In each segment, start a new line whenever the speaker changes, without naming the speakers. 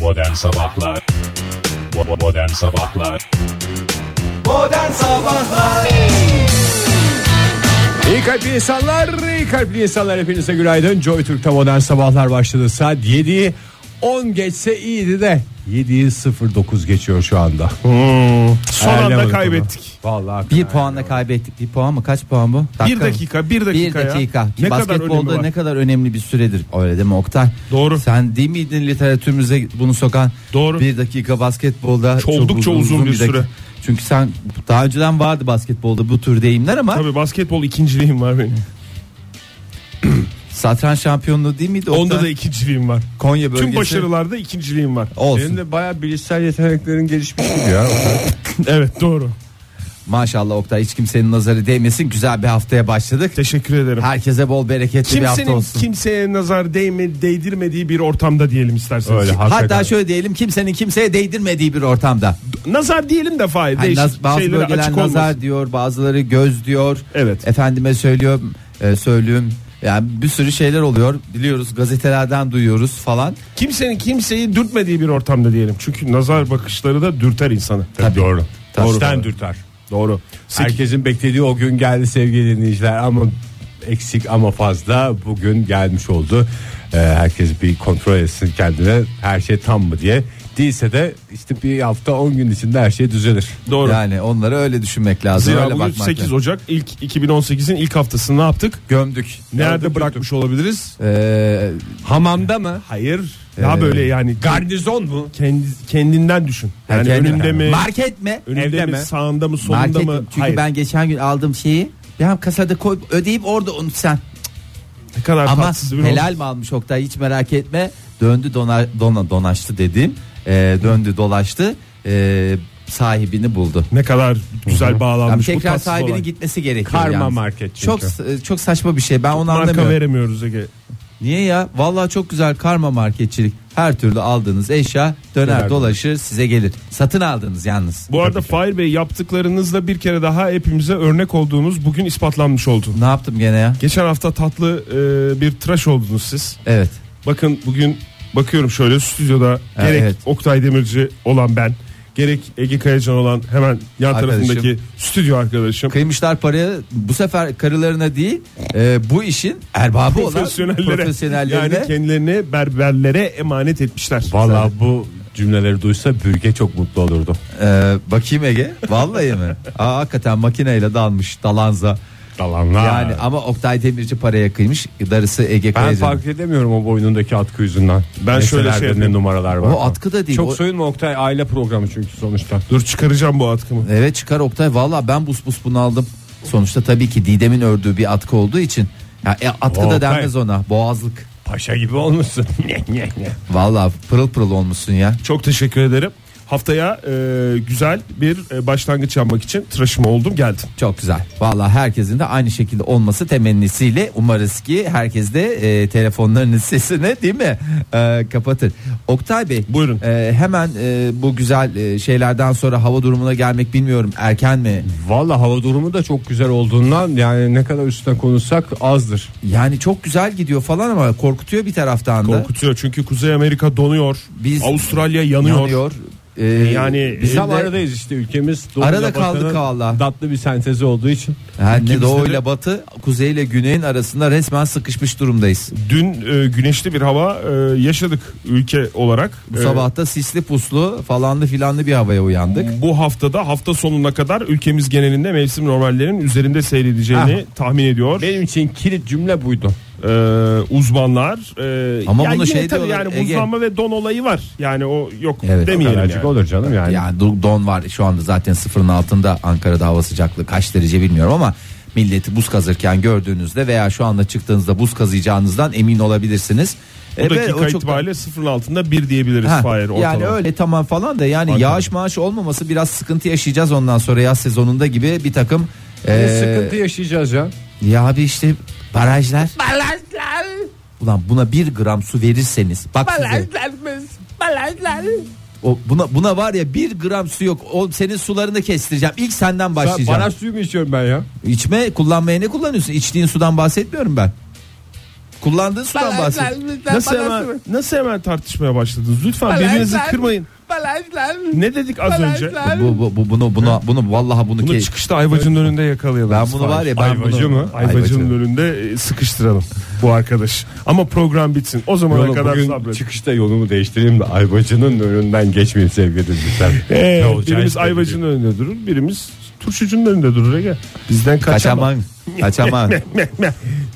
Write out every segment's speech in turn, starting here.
Modern Sabahlar Bo- Modern Sabahlar
Modern Sabahlar
İyi kalpli insanlar, iyi kalpli insanlar hepinize günaydın. Joy Türk'te modern sabahlar başladı. Saat 7'yi 10 geçse iyiydi de 7'yi 09 geçiyor şu anda.
Son anda kaybettik.
Bunu. Vallahi
Bir
hakikaten.
puanla kaybettik. Bir puan mı? Kaç puan bu?
Bir dakika, bir dakika
Bir
ya.
dakika.
Ne kadar önemi
Basketbolda
var?
ne kadar önemli bir süredir. Öyle değil mi Oktay?
Doğru.
Sen değil miydin literatürümüze bunu sokan?
Doğru.
Bir dakika basketbolda.
Oldukça uzun bir
dakika.
süre.
Çünkü sen daha önceden vardı basketbolda bu tür deyimler ama
Tabii basketbol ikinciliğim var benim.
satranç şampiyonluğu değil miydi? Oktay?
Onda da ikinciliğim var.
Konya bölgesi.
Tüm başarılarda ikinciliğim var.
Olsun.
Benim de bayağı bilişsel yeteneklerin gelişmiş gibi ya.
Evet doğru.
Maşallah Oktay hiç kimsenin nazarı değmesin. Güzel bir haftaya başladık.
Teşekkür ederim.
Herkese bol bereketli bir hafta
Kimsenin
olsun.
kimseye nazar değme, değdirmediği bir ortamda diyelim isterseniz.
Öyle,
Ha-
Hatta şöyle diyelim kimsenin kimseye değdirmediği bir ortamda.
Nazar diyelim de fayda.
Hani
Değişik
naz- bazı
şeylere
bölgeler
açık
nazar
olmasın.
diyor, bazıları göz diyor.
Evet.
Efendime söylüyorum, e, söylüyorum. Yani bir sürü şeyler oluyor. Biliyoruz gazetelerden duyuyoruz falan.
Kimsenin kimseyi dürtmediği bir ortamda diyelim. Çünkü nazar bakışları da dürter insanı.
Doğru.
Tabii.
İşten dürter.
Doğru. Sek-
Herkesin beklediği o gün geldi sevgili dinleyiciler ama eksik ama fazla bugün gelmiş oldu. Ee, herkes bir kontrol etsin kendine her şey tam mı diye. Değilse de işte bir hafta 10 gün içinde her şey düzelir.
Doğru.
Yani onları öyle düşünmek lazım.
Zira
öyle
bugün
bakmak
8
lazım.
Ocak ilk 2018'in ilk haftasını ne yaptık?
gömdük.
Nerede bırakmış olabiliriz?
Ee,
Hamamda mı?
Hayır. Daha
Ee,
böyle yani
Garnizon mu?
kendi, kendinden düşün. Yani
kendi-
önünde mi?
Market mi?
önünde
Evde
mi?
mi?
Sağında mı? Solunda
Market
mı?
mi? Çünkü
Hayır.
ben geçen gün aldığım şeyi ben kasada koy ödeyip orada unut sen.
ne kadar
Ama
tatsız bir
helal mi almış Oktay hiç merak etme. Döndü dona, dona donaştı dedim. Ee, döndü dolaştı. Ee, sahibini buldu.
Ne kadar güzel bağlanmış
Yani
bu
tekrar
tatsız
sahibinin
olay.
gitmesi gerekiyor.
Karma
yalnız.
market çünkü.
Çok çok saçma bir şey. Ben onu
Marka
anlamıyorum.
veremiyoruz Ege.
Niye ya? Vallahi çok güzel karma marketçilik. Her türlü aldığınız eşya döner
Döner.
dolaşır size gelir. Satın aldınız yalnız.
Bu arada Fahir Bey yaptıklarınızla bir kere daha hepimize örnek olduğunuz bugün ispatlanmış oldu.
Ne yaptım gene ya?
Geçen hafta tatlı e, bir tıraş oldunuz siz.
Evet.
Bakın bugün bakıyorum şöyle stüdyoda
Ha,
gerek
evet.
Oktay Demirci olan ben gerek Ege Kayacan olan hemen yan
Arkadaşım.
tarafındaki stüdyo arkadaşım.
Kıymışlar parayı bu sefer karılarına değil e, bu işin erbabı olan
profesyonellere,
profesyonellerine.
yani kendilerini berberlere emanet etmişler.
Vallahi bu cümleleri duysa bürge çok mutlu olurdu.
Ee, bakayım Ege. Vallahi mi? Aa, hakikaten makineyle dalmış dalanza.
Dalanlar.
Yani ama Oktay Demirci paraya kıymış. Darısı Ege
ben
Kayacan'ın.
fark edemiyorum o boynundaki atkı yüzünden.
Ben şöyle
Meselelerde
şey
ne
yapayım.
numaralar var.
O atkı da değil,
Çok
o-
soyunma Oktay aile programı çünkü sonuçta.
Dur çıkaracağım bu atkımı.
Evet çıkar Oktay. Valla ben bus bus bunu aldım. Sonuçta tabii ki Didem'in ördüğü bir atkı olduğu için. Ya, e, atkı
Oktay.
da denmez ona. Boğazlık.
Paşa gibi olmuşsun. Ne, ne, ne.
Valla pırıl pırıl olmuşsun ya.
Çok teşekkür ederim. Haftaya e, güzel bir e, başlangıç yapmak için tıraşım oldum geldim.
Çok güzel. Valla herkesin de aynı şekilde olması temennisiyle umarız ki herkes de e, telefonlarının sesini değil mi e, kapatır. Oktay Bey.
Buyurun.
e, hemen e, bu güzel e, şeylerden sonra hava durumuna gelmek bilmiyorum erken mi?
Valla hava durumu da çok güzel olduğundan yani ne kadar üstüne konuşsak azdır.
Yani çok güzel gidiyor falan ama korkutuyor bir taraftan da.
Korkutuyor çünkü Kuzey Amerika donuyor.
Biz-
Avustralya yanıyor.
Yanıyor. E,
Yani
Ee, Biz
e,
tam
de-
aradayız işte ülkemiz. doğuyla
Arada kaldık
batının
valla.
Tatlı bir sentezi olduğu için.
Yani
İkimiz
doğu
de-
ile batı, kuzey ile güneyin arasında resmen sıkışmış durumdayız.
dün e, güneşli bir hava e, yaşadık ülke olarak.
Bu
E,
sabah da sisli puslu falanlı filanlı bir havaya uyandık.
bu haftada hafta sonuna kadar ülkemiz genelinde mevsim normallerinin üzerinde seyredeceğini tahmin ediyor.
Ah. Benim için kilit cümle buydu.
Ee, uzmanlar. e,
Ama
ya
bunu
yine
şey
tabii
diyorlar,
yani
Ege-
buzlanma ve don olayı var. Yani o yok
Evet, o
demeyelim
Kadarcık
yani.
olur canım
Hani
yani.
Yani du- don var şu anda zaten sıfırın altında Ankara'da hava sıcaklığı kaç derece bilmiyorum ama milleti buz kazırken gördüğünüzde veya şu anda çıktığınızda buz kazıyacağınızdan emin olabilirsiniz.
Bu
E, ve
dakika
o çok-
itibariyle sıfırın altında bir diyebiliriz
Ha,
Fahir ortalama.
yani öyle tamam falan da yani
Ankara'da.
yağış maaş olmaması biraz sıkıntı yaşayacağız ondan sonra yaz sezonunda gibi bir takım
Ne
e,
sıkıntı yaşayacağız ya.
Ya abi işte barajlar. Barajlar. Ulan buna bir gram su verirseniz bak size. O buna buna var ya bir gram su yok. O senin sularını kestireceğim. İlk senden
Ben
başlayacağım.
baraj suyu mu içiyorum ben ya?
İçme kullanmaya ne kullanıyorsun? İçtiğin sudan bahsetmiyorum ben. Kullandığın sudan bahset.
Nasıl hemen, nasıl hemen tartışmaya başladınız? Lütfen birbirinizi kırmayın. Ne dedik az önce?
Bu, bu, bu- bunu, buna, bunu vallahi bunu,
Bunu
ke-
çıkışta Ayvacı'nın önünde yakalayalım.
Ben bunu var ya, ben
Ayvacı
bunu-
mı? Ayvacı'nın
Ayvacı.
önünde e, sıkıştıralım bu arkadaş. Ama program bitsin. O zamana
Yolum,
kadar
bugün
sabret.
çıkışta yolumu değiştireyim de Ayvacı'nın önünden geçmeyeyim sevgili dinleyiciler.
Ee,
Ne olacağı hiç
birimiz
belli
Ayvacı'nın
değil.
önünde durur, birimiz turşucunun önünde durur Ege. Bizden kaçamam.
kaçaman. Kaçaman.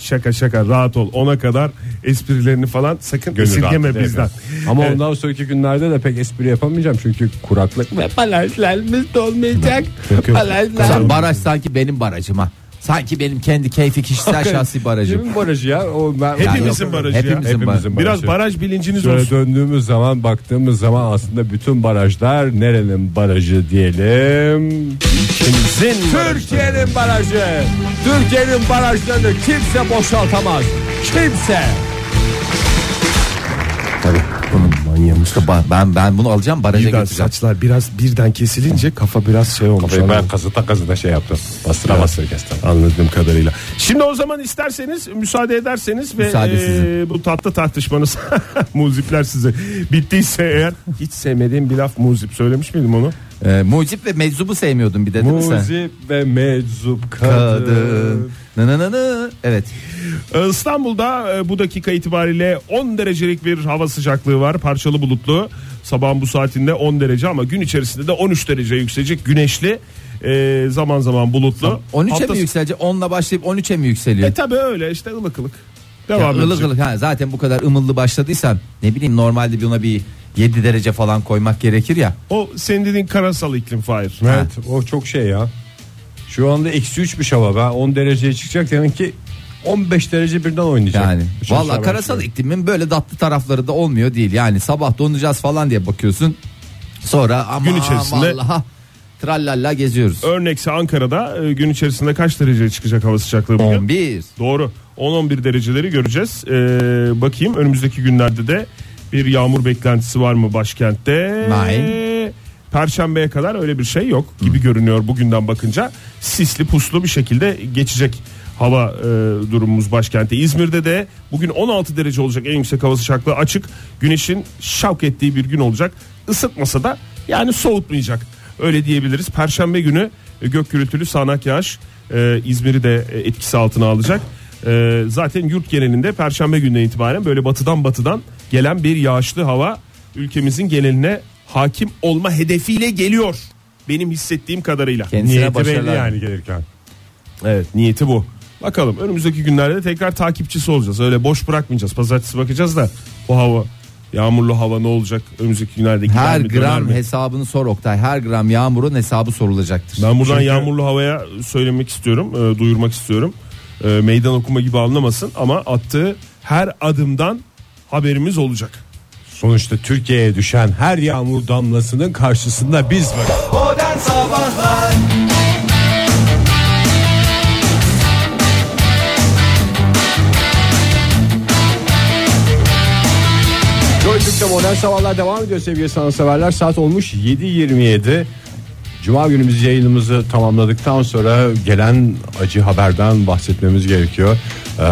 şaka şaka rahat ol. Ona kadar esprilerini falan sakın
Gönül
esirgeme
rahatlığı,
bizden.
evet. Ama
Evet.
ondan sonraki günlerde de pek espri yapamayacağım çünkü kuraklık ve
Palajlarımız dolmayacak.
Yok, yok.
Palajlar.
Sen baraj sanki benim barajım ha. Sanki benim kendi keyfi kişisel şahsi barajım.
Kimin barajı ya? O ben,
Hepimizin
Yani yok,
barajı ya.
Hepimizin, barajı.
Hepimizin
Biraz
barajı.
baraj bilinciniz
Şöyle
olsun.
döndüğümüz zaman baktığımız zaman aslında bütün barajlar nerenin barajı diyelim.
Kimsin barajı?
Türkiye'nin barajı. Türkiye'nin barajlarını kimse boşaltamaz. Kimse.
Tabii. Bunun İşte ba- ben ben bunu alacağım baraja
Birden
götüreceğim.
saçlar biraz birden kesilince kafa biraz şey olmuş.
Ve
anladın
ben
mı?
kazıta kazıta şey yaptım. Bastıra bastıra kestim.
Anladığım kadarıyla. Şimdi o zaman isterseniz müsaade ederseniz ve
Müsaade sizin.
e, bu tatlı tartışmanız muzipler size bittiyse eğer hiç sevmediğim bir laf muzip söylemiş miydim onu?
Ee, mucip ve meczubu sevmiyordun bir de değil mi sen?
Muzip ve meczup kadın.
Kadın. Nı nı nı nı. Evet.
Ee, İstanbul'da e, bu dakika itibariyle 10 derecelik bir hava sıcaklığı var. Parçalı bulutlu. Sabahın bu saatinde 10 derece ama gün içerisinde de 13 derece yükselecek. Güneşli. e, zaman zaman bulutlu.
13'e
Hafta-
mi yükselecek? 10'la başlayıp 13'e mi yükseliyor?
E tabi öyle işte ılık ılık.
Ya,
Devam
ılık
edecek.
ılık. Ha, zaten bu kadar ımıllı başladıysan ne bileyim normalde buna bir 7 derece falan koymak gerekir ya.
O senin dediğin karasal iklim Fahir.
Evet o çok şey ya. Şu anda eksi 3'müş hava. Ben 10 dereceye çıkacak demek ki 15 derece birden
Şey,
oynayacak.
Yani
Şu
valla
sabah
karasal
şey.
iklimin böyle tatlı tarafları da olmuyor değil. Yani sabah donacağız falan diye bakıyorsun. Sonra ama
Gün içerisinde-
vallaha trallalla geziyoruz.
Örnekse Ankara'da e, gün içerisinde kaç dereceye çıkacak hava sıcaklığı bugün?
11.
Doğru. 10-11 dereceleri göreceğiz. E, bakayım önümüzdeki günlerde de bir yağmur beklentisi var mı başkentte?
Nein.
Perşembeye kadar öyle bir şey yok gibi görünüyor bugünden bakınca. Sisli puslu bir şekilde geçecek hava e, durumumuz başkentte. İzmir'de de bugün 16 derece olacak en yüksek hava sıcaklığı açık. Güneşin şavk ettiği bir gün olacak. Isıtmasa da yani soğutmayacak. Öyle diyebiliriz. Perşembe günü e, gök gürültülü sağanak yağış e, İzmir'i de e, etkisi altına alacak. E, zaten yurt genelinde perşembe gününden itibaren böyle batıdan batıdan gelen bir yağışlı hava ülkemizin geneline hakim olma hedefiyle geliyor. Benim hissettiğim kadarıyla.
Kendisine
Niyeti belli
başarılar.
yani gelirken. Evet niyeti bu. Bakalım önümüzdeki günlerde tekrar takipçisi olacağız. Öyle boş bırakmayacağız. Pazartesi bakacağız da bu hava yağmurlu hava ne olacak önümüzdeki günlerde gider
Her
mi, döner
gram
mi?
hesabını sor Oktay. Her gram yağmurun hesabı sorulacaktır.
Ben buradan
Çünkü-
yağmurlu havaya söylemek istiyorum, e, duyurmak istiyorum. E, meydan okuma gibi anlamasın ama attığı her adımdan haberimiz olacak.
Sonuçta Türkiye'ye düşen her yağmur damlasının karşısında biz varız.
Modern Sabahlar
Joy Türk'te modern sabahlar devam ediyor sevgili sanatseverler. Saat olmuş 7.27. Cuma günümüz yayınımızı tamamladıktan sonra gelen acı haberden bahsetmemiz gerekiyor. Ee,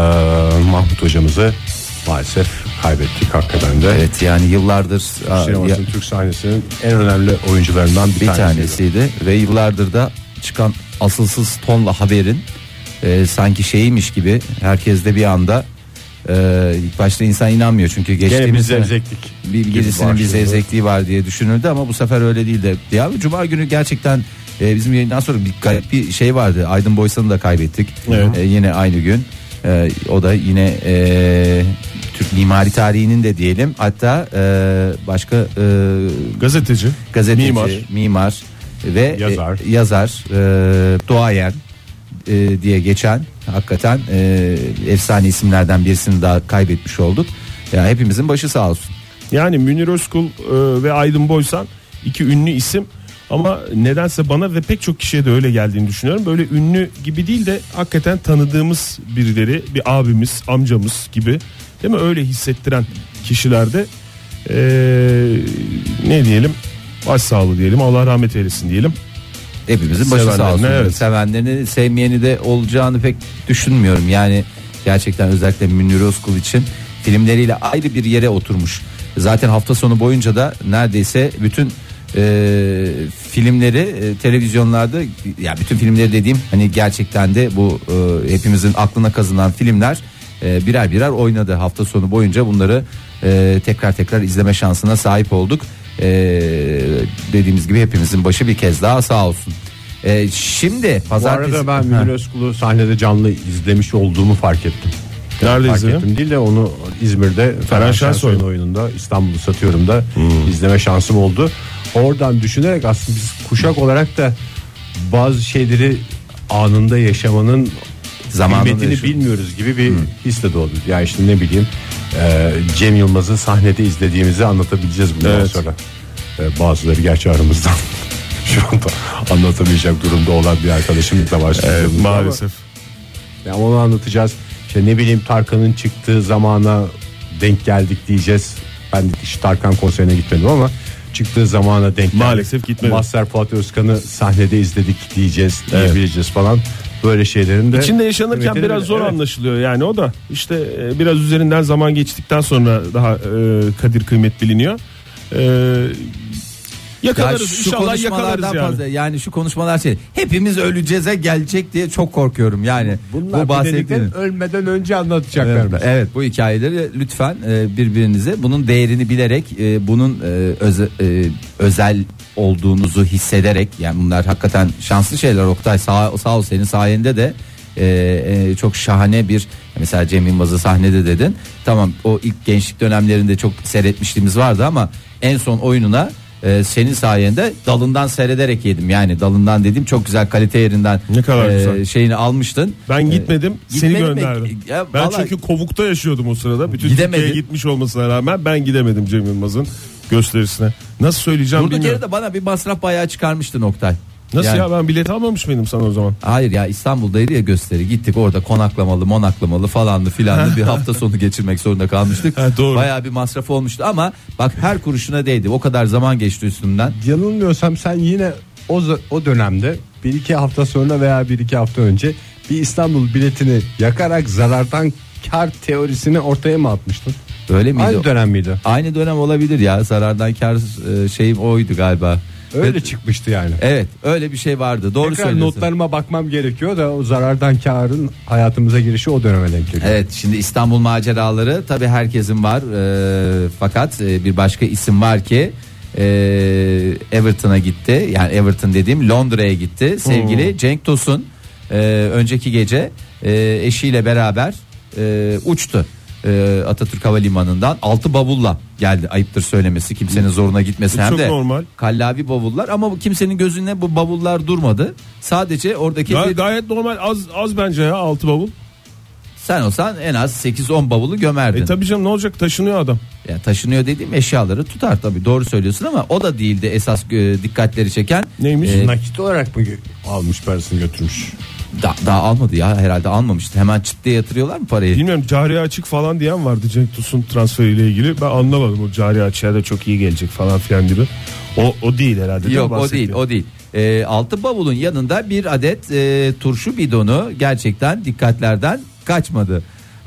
Mahmut hocamızı maalesef kaybettik hakikaten de.
Evet yani yıllardır e, aa,
şey
ya-
Sinemasının Türk sahnesinin en önemli oyuncularından bir,
bir
tanesiydi.
tanesiydi ve yıllardır da çıkan asılsız tonla haberin e, sanki şeymiş gibi herkes de bir anda e, ilk başta insan inanmıyor çünkü
Gene
geçtiğimiz
biz
sene-
zevzeklik.
bir gerisinin bir zevzekliği var diye düşünüldü ama bu sefer öyle değildi. Ya cuma günü gerçekten e, bizim yayından sonra bir garip bir şey vardı. Aydın Boysan'ı da kaybettik. E, yine aynı gün. E, o da yine e, Türk mimari tarihinin de diyelim. Hatta e, başka e,
Gazeteci.
gazeteci,
Mimar.
mimar, ve
Yazar.
e, yazar, e, doğayen e, diye geçen hakikaten e, efsane isimlerden birisini daha kaybetmiş olduk. Ya hepimizin başı sağ olsun.
Yani Münir Özkul e, ve Aydın Boysan iki ünlü isim ama nedense bana ve pek çok kişiye de öyle geldiğini düşünüyorum. Böyle ünlü gibi değil de hakikaten tanıdığımız birileri, bir abimiz, amcamız gibi değil mi? Öyle hissettiren kişilerde e, ne diyelim? Başsağlığı diyelim. Allah rahmet eylesin diyelim.
Hepimizin başı sağ olsun.
Sevenlerine, evet.
Sevenlerini sevmeyeni de olacağını pek düşünmüyorum. Yani Gerçekten özellikle Münir Özkul için filmleriyle ayrı bir yere oturmuş. Zaten hafta sonu boyunca da neredeyse bütün e, filmleri e, televizyonlarda ya bütün filmleri dediğim hani gerçekten de bu e, hepimizin aklına kazınan filmler e, birer birer oynadı hafta sonu boyunca bunları e, tekrar tekrar izleme şansına sahip olduk. E, dediğimiz gibi hepimizin başı bir kez daha sağ olsun. E, şimdi
Bu
pazartesi
arada ben
Ha.
Münir Özkul'u sahnede canlı izlemiş olduğumu fark ettim.
Nerede
fark
izledin?
ettim değil de onu İzmir'de Ferhan Şensoy'un oyununda İstanbul'u satıyorum da izleme şansım oldu. Oradan düşünerek aslında biz kuşak olarak da bazı şeyleri anında yaşamanın
Zamanında
kıymetini
yaşıyoruz.
bilmiyoruz gibi bir his de doğdu. Ya işte ne bileyim e, Cem Yılmaz'ı sahnede izlediğimizi anlatabileceğiz bundan
Evet.
sonra. E, bazıları gerçi aramızdan şu anda anlatamayacak durumda olan bir arkadaşımızla başlıyoruz.
Evet, maalesef.
Ya onu anlatacağız. İşte ne bileyim Tarkan'ın çıktığı zamana denk geldik diyeceğiz. Ben de hiç Tarkan konserine gitmedim ama çıktığı zamana denk
Maalesef gitmedim.
Master Fuat Özkan'ı sahnede izledik diyeceğiz, diyebileceğiz falan. Böyle şeylerin de
İçinde yaşanırken
kıymetini
biraz
bil-
zor
Evet.
anlaşılıyor yani o da işte e, biraz üzerinden zaman geçtikten sonra daha e, kadir kıymet biliniyor. E,
Ya
yakalarız
şu
inşallah yakalarız
konuşmalardan
yani.
fazla yani şu konuşmalar şey hepimiz öleceğize gelecek diye çok korkuyorum yani
Bunlar
bu
bu
bahsettiğiniz
ölmeden önce anlatacaklar.
Evet, evet, bu hikayeleri lütfen e, birbirinize bunun değerini bilerek e, bunun e, öze- e, özel olduğunuzu hissederek yani bunlar hakikaten şanslı şeyler Oktay sağ, sağ ol senin sayende de e, e, çok şahane bir mesela Cem Yılmaz'ı sahnede dedin tamam o ilk gençlik dönemlerinde çok seyretmişliğimiz vardı ama en son oyununa e, senin sayende dalından seyrederek yedim yani dalından dedim çok güzel kalite yerinden e,
Ne kadar güzel.
şeyini almıştın
Ben gitmedim seni
gitmedin mi?
gönderdim.
Ya
ben
vallahi-
çünkü kovukta yaşıyordum o sırada. Bütün
Gidemedin.
Türkiye'ye gitmiş olmasına rağmen ben gidemedim Cem Yılmaz'ın gösterisine. Nasıl söyleyeceğim
Durduk yere
bilmiyorum.
de bana bir masraf bayağı çıkarmıştı Oktay.
Nasıl
Yani-
ya ben bilet almamış mıydım sana o zaman?
Hayır ya İstanbul'daydı ya gösteri gittik orada konaklamalı monaklamalı falanlı filanlı bir hafta sonu geçirmek zorunda kalmıştık.
Ha, doğru.
Bayağı bir masraf olmuştu ama bak her kuruşuna değdi o kadar zaman geçti üstünden.
E, Yanılmıyorsam sen yine o, za- o dönemde bir iki hafta sonra veya bir iki hafta önce bir İstanbul biletini yakarak zarardan kar teorisini ortaya mı atmıştın?
Öyle miydi?
Aynı dönem miydi?
Aynı dönem olabilir ya zarardan kar e, şeyim oydu galiba.
Öyle
Ve-
çıkmıştı yani.
Evet öyle bir şey vardı doğru
Tekrar
söylüyorsun.
notlarıma bakmam gerekiyor da o zarardan karın hayatımıza girişi o döneme denk geliyor.
Evet şimdi İstanbul maceraları tabi herkesin var Ee, fakat e, bir başka isim var ki e, Everton'a gitti yani Everton dediğim Londra'ya gitti sevgili Cenk Tosun e, önceki gece e, eşiyle beraber e, uçtu E, Atatürk Havalimanı'ndan altı bavulla geldi ayıptır söylemesi kimsenin zoruna gitmesin
Bu
hem
çok
de
normal.
kallavi bavullar ama bu kimsenin gözüne bu bavullar durmadı sadece oradaki
Ga-
bir-
gayet normal az az bence ya altı bavul.
sen olsan en az 8-10 bavulu gömerdin
E tabii canım ne olacak taşınıyor adam.
Ya taşınıyor dediğim eşyaları tutar tabi doğru söylüyorsun ama o da değildi esas e, dikkatleri çeken.
Neymiş?
E,
Nakit olarak mı gö- almış parasını götürmüş?
da- daha almadı ya herhalde almamıştı. Hemen çıt diye yatırıyorlar mı parayı?
Bilmiyorum cari açık falan diyen vardı Cenk Tosun transferiyle ilgili. Ben anlamadım o cari açığa da çok iyi gelecek falan filan gibi. O, o değil herhalde. değil mi
Yok o
bahsettiğin?
değil o değil. E, altı bavulun yanında bir adet e, turşu bidonu gerçekten dikkatlerden kaçmadı. E,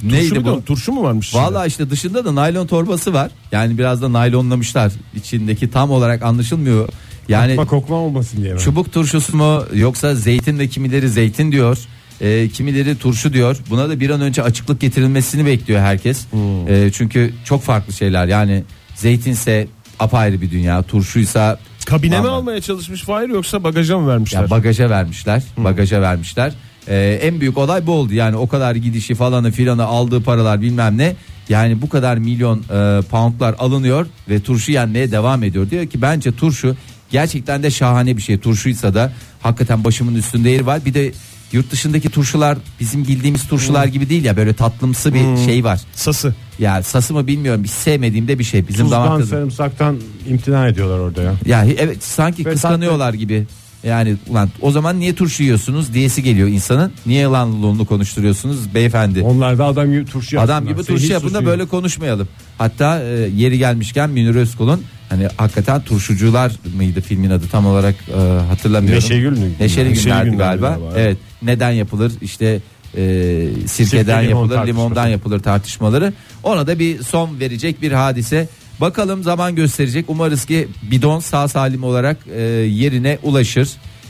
Turşu
neydi
mu
bu?
diyorum, Turşu mu varmış? içinde?
Valla işte dışında da naylon torbası var. Yani biraz da naylonlamışlar. İçindeki tam olarak anlaşılmıyor. Yani
Bak kokma olmasın diye. ben.
Çubuk turşusu mu yoksa zeytin de kimileri zeytin diyor. e, kimileri turşu diyor. Buna da bir an önce açıklık getirilmesini bekliyor herkes. E, çünkü çok farklı şeyler. Yani zeytinse apayrı bir dünya, turşuysa
Kabine mi
Aman.
almaya çalışmış Fahir yoksa bagaja mı vermişler?
ya bagaja vermişler. Bagaja vermişler. E, en büyük olay bu oldu. Yani o kadar gidişi falanı filanı aldığı paralar bilmem ne. Yani bu kadar milyon e, poundlar alınıyor ve turşu yenmeye devam ediyor. Diyor ki bence turşu gerçekten de şahane bir şey. Turşuysa da hakikaten başımın üstünde yeri var. Bir de yurt dışındaki turşular bizim bildiğimiz turşular gibi değil ya böyle tatlımsı bir şey var.
Sası.
Ya sası mı bilmiyorum. Bir sevmediğim de bir şey. Bizim damak
Tuzdan
tadı-
sarımsaktan imtina ediyorlar orada ya.
ya he- evet sanki
Ve
kıskanıyorlar gibi. Yani ulan o zaman niye turşu yiyorsunuz diyesi geliyor insanın. Niye yalanlılığını konuşturuyorsunuz beyefendi?
Onlar da adam gibi turşu
Adam gibi
Şey,
turşu yapın da böyle konuşmayalım. Hatta e, yeri gelmişken Münir Özkul'un hani hakikaten turşucular mıydı filmin adı tam olarak e, hatırlamıyorum.
Neşegül mü?
Neşeli
Neşeli
günlerdi
Günlerdi
galiba.
galiba,
Evet. Neden yapılır? İşte e, sirkeden
limon
yapılır,
tartışması.
limondan yapılır tartışmaları. Ona da bir son verecek bir hadise. Bakalım zaman gösterecek. Umarız ki bidon sağ salim olarak e, yerine ulaşır.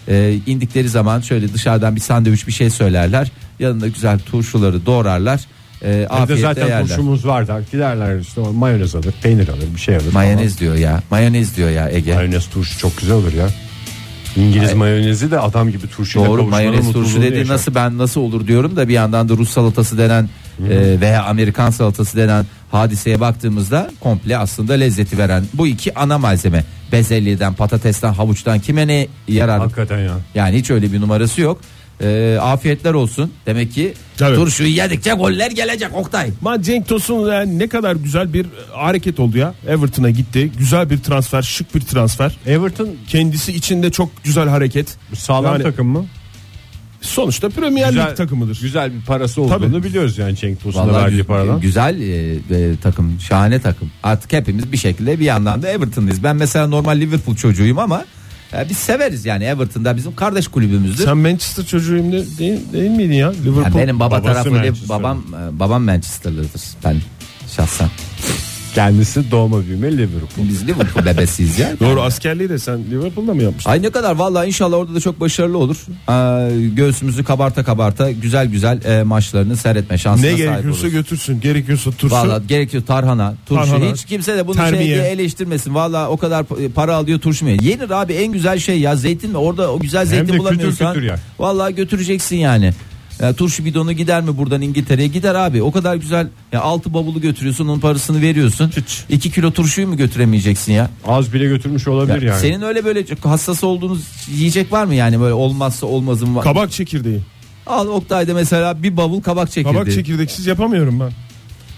E, indikleri zaman şöyle dışarıdan bir sandviç bir şey söylerler. Yanında güzel turşuları doğrarlar. E,
Evde
afiyetle
zaten
yerler.
turşumuz vardı. Giderler işte mayonez alır, peynir alır, bir şey alır.
Mayonez diyor ya. Mayonez diyor ya Ege.
Falan. Mayonez turşu çok güzel olur ya. İngiliz mayonezi de adam gibi turşuyla
Doğru
kavuşmanın
mayonez turşu
mutluluğunu
dediğin
yaşar.
nasıl ben nasıl olur diyorum da bir yandan da Rus salatası denen e, veya Amerikan salatası denen hadiseye baktığımızda komple aslında lezzeti veren bu iki ana malzeme. Bezelyeden, patatesten, havuçtan kime ne yarar?
Hakikaten ya.
Yani hiç öyle bir numarası yok. E, afiyetler olsun. Demek ki
Tabii.
turşuyu yedikçe goller gelecek Oktay.
Man Cenk Tosun yani ne kadar güzel bir e, hareket oldu ya. Everton'a gitti. Güzel bir transfer, şık bir transfer.
Everton
Kendisi içinde çok güzel hareket.
sağlam
Yani
takım mı?
Sonuçta Premier Lig takımıdır.
Güzel bir parası olduğunu
Tabii.
biliyoruz yani Cenk Tosun'a
Vallahi
verdiği
gü-
paradan.
güzel e, e, takım, şahane takım. Artık hepimiz bir şekilde bir yandan da Everton'lıyız. Ben mesela normal Liverpool çocuğuyum ama e, biz severiz yani Everton'da bizim kardeş kulübümüzdür.
Sen Manchester çocuğuyum de- değil, değil miydin ya? Liverpool.
Yani benim baba
babası
tarafı
Manchester'lı.
babam e, babam Manchester'lıdır ben şahsen.
Kendisi doğma büyüme Liverpool.
Biz Liverpool bebesiyiz ya.
Doğru askerliği de sen Liverpool'da mı yapmıştın?
Ay ne kadar vallahi inşallah orada da çok başarılı olur. Ee, göğsümüzü kabarta kabarta güzel güzel e, maçlarını seyretme şansına
Ne
sahip
gerekiyorsa
oluruz.
götürsün. Gerekiyorsa tursun.
Valla gerekiyor tarhana, turşu.
Tarhana,
Hiç kimse de bunu
terbiye.
şey diye eleştirmesin. Valla o kadar pa- para alıyor turşu mu? Yenir abi en güzel şey ya zeytin mi? Orada o güzel zeytin
de kütür
bulamıyorsan.
kütür ya.
Valla götüreceksin yani. Ya turşu bidonu gider mi buradan İngiltere'ye? Gider abi. O kadar güzel. Ya altı bavulu götürüyorsun, onun parasını veriyorsun. 2 kilo turşuyu mu götüremeyeceksin ya?
Az bile götürmüş
Ya
olabilir yani.
Senin öyle böyle çok hassas olduğunuz yiyecek var mı yani böyle olmazsa olmazım var.
Kabak çekirdeği.
Al Oktay'da mesela bir bavul kabak çekirdeği.
Kabak çekirdeksiz yapamıyorum ben.